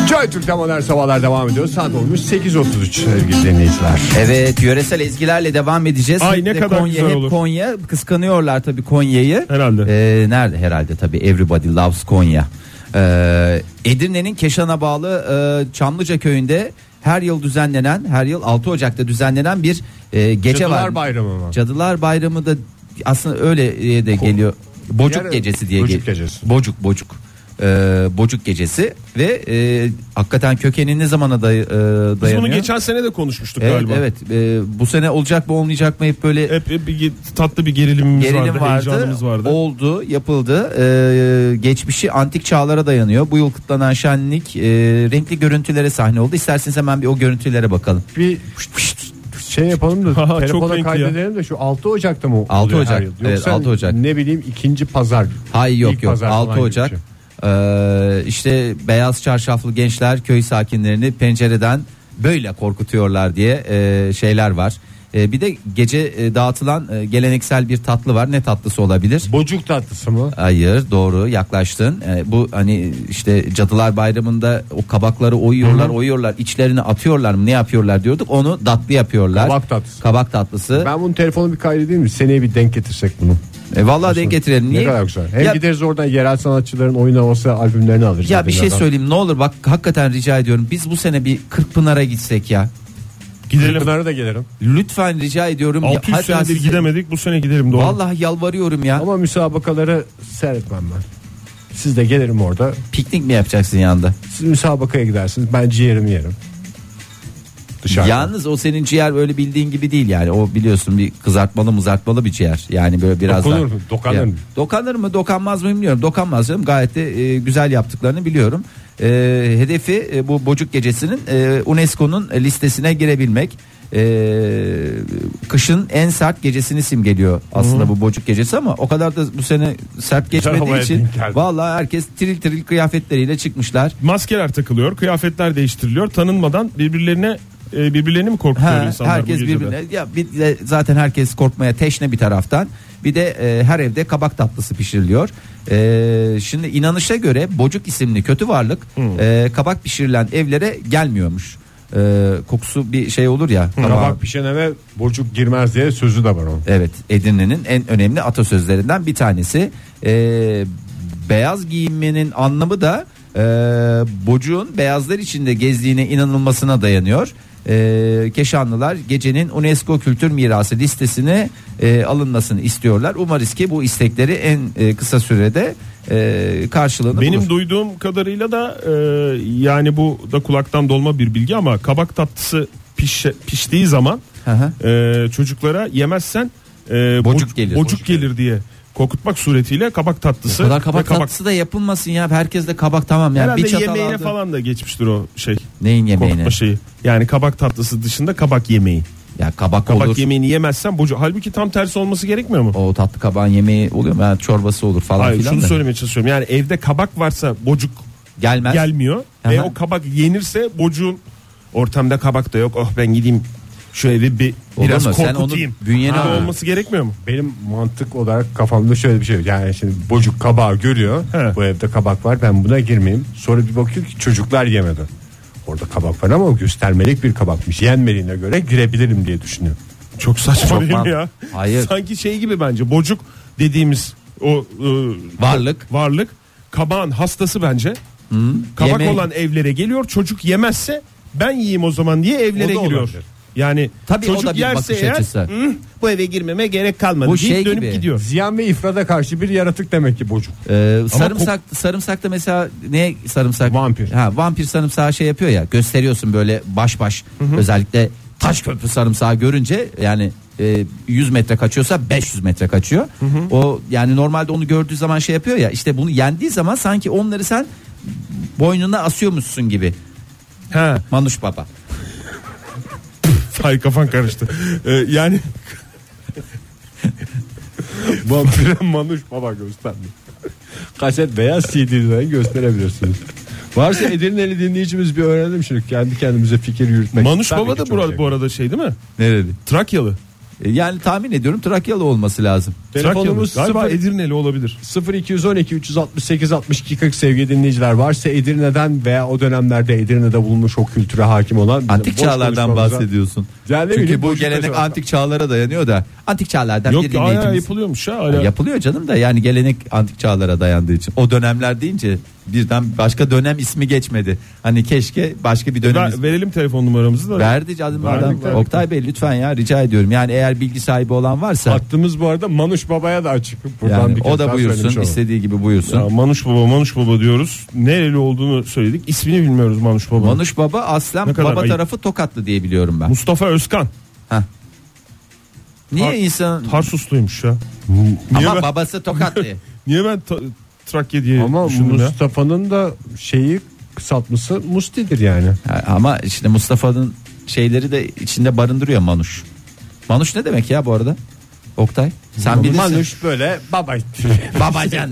Joy Türk'te modern sabahlar devam ediyor. Saat olmuş 8.33 sevgili dinleyiciler.
Evet yöresel ezgilerle devam edeceğiz.
Ay,
Hep
ne
de
kadar
Konya,
güzel
hep
olur.
Konya kıskanıyorlar tabii Konya'yı.
Herhalde.
Ee, nerede herhalde tabii Everybody Loves Konya. Ee, Edirne'nin Keşan'a bağlı e, Çamlıca köyünde her yıl düzenlenen her yıl 6 Ocak'ta düzenlenen bir e, gece
Cadılar
var.
Bayramı mı?
Cadılar Bayramı da aslında öyle e, de geliyor. Bocuk
Yarın-
gecesi diye
Bocuk
ge-
gecesi.
Bocuk bocuk. Ee, bocuk gecesi ve e, hakikaten kökeni ne zamana day- e,
Biz
dayanıyor?
bunu geçen sene de konuşmuştuk
Evet
galiba.
E, evet Ee, bu sene olacak mı olmayacak mı hep böyle
Hep hep bir ge- tatlı bir gerilimimiz
gerilim
vardı,
vardı,
heyecanımız vardı.
oldu yapıldı Ee, geçmişi antik çağlara dayanıyor bu yıl kutlanan şenlik e, renkli görüntülere sahne oldu İsterseniz hemen bir o görüntülere bakalım
Bir şey yapalım da
Ha, çok
telefona
renkli
kaydedelim de şu 6 Ocak'ta mı?
6
oluyor
Ocak,
her yıl?
evet,
Yoksa
6 Ocak.
Ne bileyim ikinci pazar.
hayır
ilk
yok yok
pazar falan
6
gibi bir
Ocak
şey.
Ee, işte beyaz çarşaflı gençler köy sakinlerini pencereden böyle korkutuyorlar diye e, şeyler var Ee, bir de gece e, dağıtılan e, geleneksel bir tatlı var ne tatlısı olabilir
Bocuk tatlısı mı?
Hayır doğru yaklaştın. Ee, bu hani işte Cadılar Bayramı'nda o kabakları oyuyorlar oyuyorlar içlerine atıyorlar mı ne yapıyorlar diyorduk onu tatlı yapıyorlar.
Kabak tatlısı.
Kabak tatlısı.
Ben bunu telefonu bir kaydedeyim mi? Seneye bir denk getirsek bunu.
E, vallahi denk getirelim. Niye?
Ne kadar güzel. Hem
ya,
gideriz oradan yerel sanatçıların oynaması albümlerini alırız.
ya bir şey
Edirne'den.
söyleyeyim ne olur bak hakikaten rica ediyorum biz bu sene bir Kırkpınar'a gitsek ya.
Gidelim.
Pınar'a da gelirim.
Lütfen rica ediyorum.
600
Hatta
senedir
size-
gidemedik bu sene gidelim doğru.
Vallahi yalvarıyorum ya.
Ama müsabakaları seyretmem ben. Siz de gelirim orada.
Piknik mi yapacaksın yanında?
Siz müsabakaya gidersiniz. Ben ciğerimi yerim. Dışarıda.
Yalnız o senin ciğer böyle bildiğin gibi değil yani. O biliyorsun bir kızartmalı mızartmalı bir ciğer. Yani böyle biraz
Dokunur
daha-
mu? Dokanır
Ya,
mı?
Dokanır mı? Dokanmaz mı bilmiyorum. Dokanmaz canım. Gayet de e, güzel yaptıklarını biliyorum. E, hedefi e, bu Bocuk Gecesi'nin e, UNESCO'nun listesine girebilmek. E, kışın en sert gecesini simgeliyor aslında bu Bocuk Gecesi ama o kadar da bu sene sert geçmediği
havaya
için
denk geldi.
vallahi herkes tril tril kıyafetleriyle çıkmışlar.
Maskeler takılıyor, kıyafetler değiştiriliyor. Tanınmadan birbirlerine e, birbirlerini mi korkutuyor
Ha,
insanlar bu
herkes
gecede?
birbirine ya bir de zaten herkes korkmaya teşne bir taraftan. Bir de e, her evde kabak tatlısı pişiriliyor. E, şimdi inanışa göre bocuk isimli kötü varlık e, kabak pişirilen evlere gelmiyormuş. E, kokusu bir şey olur ya. kabak.
Kabak pişen eve burcuk girmez diye sözü de var onun.
Evet Edirne'nin en önemli atasözlerinden bir tanesi. Ee, beyaz giyinmenin anlamı da e, bocuğun beyazlar içinde gezdiğine inanılmasına dayanıyor. Ee, Keşanlılar gecenin UNESCO Kültür Mirası listesine e, alınmasını istiyorlar. Umarız ki bu istekleri en e, kısa sürede e, karşılığını
Benim
bulur.
duyduğum kadarıyla da e, yani bu da kulaktan dolma bir bilgi ama kabak tatlısı pişe- piştiği zaman
Hı hı.
e, çocuklara yemezsen e,
Bocuk
boc-
gelir.
bocuk gelir diye korkutmak suretiyle kabak tatlısı
O kadar kabak,
ve kabak
tatlısı da yapılmasın ya. Herkes de kabak tamam ya.
Herhalde
bir çatal
yemeğine
aldı.
falan da geçmiştir o şey.
Neyin yemeğine?
Korkutma şeyi. Yani kabak tatlısı dışında kabak yemeği.
Ya kabak,
Kabak
olur.
yemeğini yemezsen bocu. Halbuki tam tersi olması gerekmiyor mu?
O tatlı kabağın yemeği oluyor mu? Ha, çorbası olur falan
Hayır
filan
şunu
da.
söylemeye çalışıyorum. Yani evde kabak varsa bocuk
Gelmez.
gelmiyor. Ve
Aha.
o kabak yenirse bocuğun ortamda kabak da yok. Oh ben gideyim şu evi bir
Olur
biraz
mu? Sen onu
korkutayım.
bünyene
Böyle
al.
olması gerekmiyor mu?
Benim mantık olarak kafamda şöyle bir şey var. Yani şimdi bocuk kabağı görüyor.
He.
Bu evde kabak var ben buna girmeyeyim. Sonra bir bakıyor ki çocuklar yemedi. Orada kabak var ama göstermelik bir kabakmış. Yenmediğine göre girebilirim diye düşünüyor.
Çok saçma
Çok
değil mi
mantıklı.
ya?
Hayır.
Sanki şey gibi bence bocuk dediğimiz o e,
Varlık.
varlık kabağın hastası bence. Kabak
Yemeği-
olan evlere geliyor. Çocuk yemezse ben yiyeyim o zaman diye evlere
O da
giriyor.
olabilir.
Yani
Tabii o
çocuk
da bir
yerse
bakış
eğer
açısı.
"Hı, bu eve girmeme gerek kalmadı.
Bu
deyip
şey
dönüp
gibi.
gidiyor.
Ziyan ve ifrada karşı bir yaratık demek ki bocuk.
Ee, sarımsak sarımsak da mesela ne sarımsak?
Vampir.
Ha vampir sarımsağı şey yapıyor ya. Gösteriyorsun böyle baş baş. Özellikle taş köprü sarımsağı görünce yani e, 100 metre kaçıyorsa 500 metre kaçıyor. O yani normalde onu gördüğü zaman şey yapıyor ya. işte bunu yendiği zaman sanki onları sen boynuna asıyormuşsun gibi.
Ha,
Manuş baba.
Ay kafan karıştı. Ee, yani
Vampire manuş baba göstermiyor. Kaset beyaz CD'den gösterebilirsiniz. Varsa Edirne'li dinleyicimiz bir öğrenelim şimdi. Kendi kendimize fikir yürütmek.
Manuş
Tabii
Baba
ki
da
çok
bu,
şey.
bu arada şey değil mi?
Ne dedi?
Trakyalı.
E, Yani tahmin ediyorum Trakyalı olması lazım.
Telefonumuz
Trakyalı. Galiba
sıfır-
Edirneli olabilir.
0212 368 62 40 sevgili dinleyiciler varsa Edirne'den veya o dönemlerde Edirne'de bulunmuş o kültüre hakim olan bizim
Antik
boş
çağlardan
konuşmamıza-
bahsediyorsun.
Yani ne
Çünkü
bileyim,
bu
boş
gelenek
konuşmamıza-
antik çağlara dayanıyor da. Antik çağlardan
Yok
bir
ya, hala
dinleyicimiz-
yapılıyormuş ya.
Ya
Hala.
Yapılıyor canım da yani gelenek antik çağlara dayandığı için. O dönemler deyince birden başka dönem ismi geçmedi. Hani keşke başka bir dönem
Ver-
ismi.
verelim telefon numaramızı da.
Verdi canım
Verdik,
adam.
verdik.
Oktay Bey lütfen ya rica ediyorum. Yani eğer bilgi sahibi olan varsa
Hattımız bu arada Manuş Baba'ya da açık. Buradan
yani
bir kez
o da
daha söylemiş
buyursun
olalım.
istediği gibi buyursun.
Ya Manuş Baba Manuş Baba diyoruz. Nereli olduğunu söyledik. İsmini bilmiyoruz Manuş Baba.
Manuş Baba aslen
Ne kadar
baba
ayıp.
tarafı Tokatlı diye biliyorum ben.
Mustafa Özkan.
Niye
Tar-
insan
Tarsusluymuş ya. Niye
ama
ben,
babası Tokatlı.
niye ben ta- Trakya diye
Ama
düşündüm ya?
Mustafa'nın da şeyi kısaltması Musti'dir yani.
Ha, ama işte Mustafa'nın şeyleri de içinde barındırıyor Manuş. Manuş ne demek ya bu arada? Oktay sen bilirsin.
Manuş böyle baba.
babacan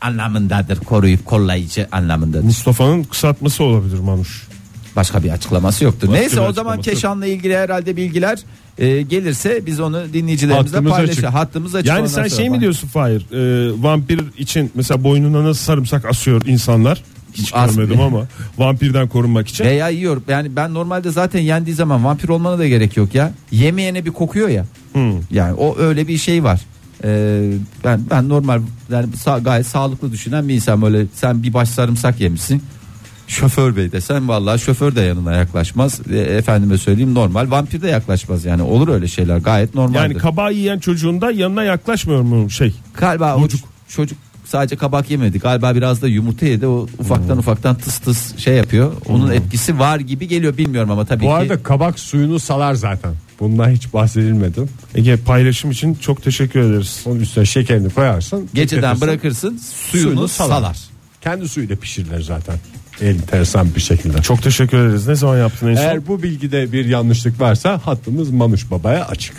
anlamındadır. Koruyup kollayıcı anlamındadır.
Mustafa'nın kısaltması olabilir Manuş.
Başka bir açıklaması yoktur.
Başka
Neyse
bir
o zaman
açıklaması yok.
Keşan'la ilgili herhalde bilgiler e, gelirse biz onu dinleyicilerimizle
Hattımız
paylaşırız.
açık.
Hattımız açık.
Yani
ondan
sen
sonra
şey mi
falan.
diyorsun Fahir? Ee, vampir için mesela boynuna nasıl sarımsak asıyor insanlar? Hiç
As-
görmedim ama vampirden korunmak için.
Veya yiyor. Yani ben normalde zaten yendiği zaman vampir olmana da gerek yok ya. Yemeyene bir kokuyor ya.
Hmm.
Yani o öyle bir şey var. Ee, ben ben normal yani sa- gayet sağlıklı düşünen bir insan böyle sen bir baş sarımsak yemişsin. Şoför bey desen vallahi şoför de yanına yaklaşmaz. E, efendime söyleyeyim normal vampir de yaklaşmaz yani olur öyle şeyler gayet normaldir.
Yani kabağı yiyen çocuğun da yanına yaklaşmıyor mu şey?
Galiba o çocuk sadece kabak yemedi. Galiba biraz da yumurta yedi. O ufaktan
Hmm.
ufaktan tıs tıs şey yapıyor. Onun etkisi var gibi geliyor bilmiyorum ama tabii
Bu
ki.
arada kabak suyunu salar zaten. Bundan hiç bahsedilmedi.
Ege paylaşım için çok teşekkür ederiz.
Onun üstüne şekerini koyarsın.
Geceden
bekletirsin.
bırakırsın suyunu,
Suyunu
salar.
salar. Kendi suyuyla pişirirler zaten. Enteresan bir şekilde.
Çok teşekkür ederiz. Ne zaman yaptın en son?
Eğer bu bilgide bir yanlışlık varsa hattımız Manuş Baba'ya açık.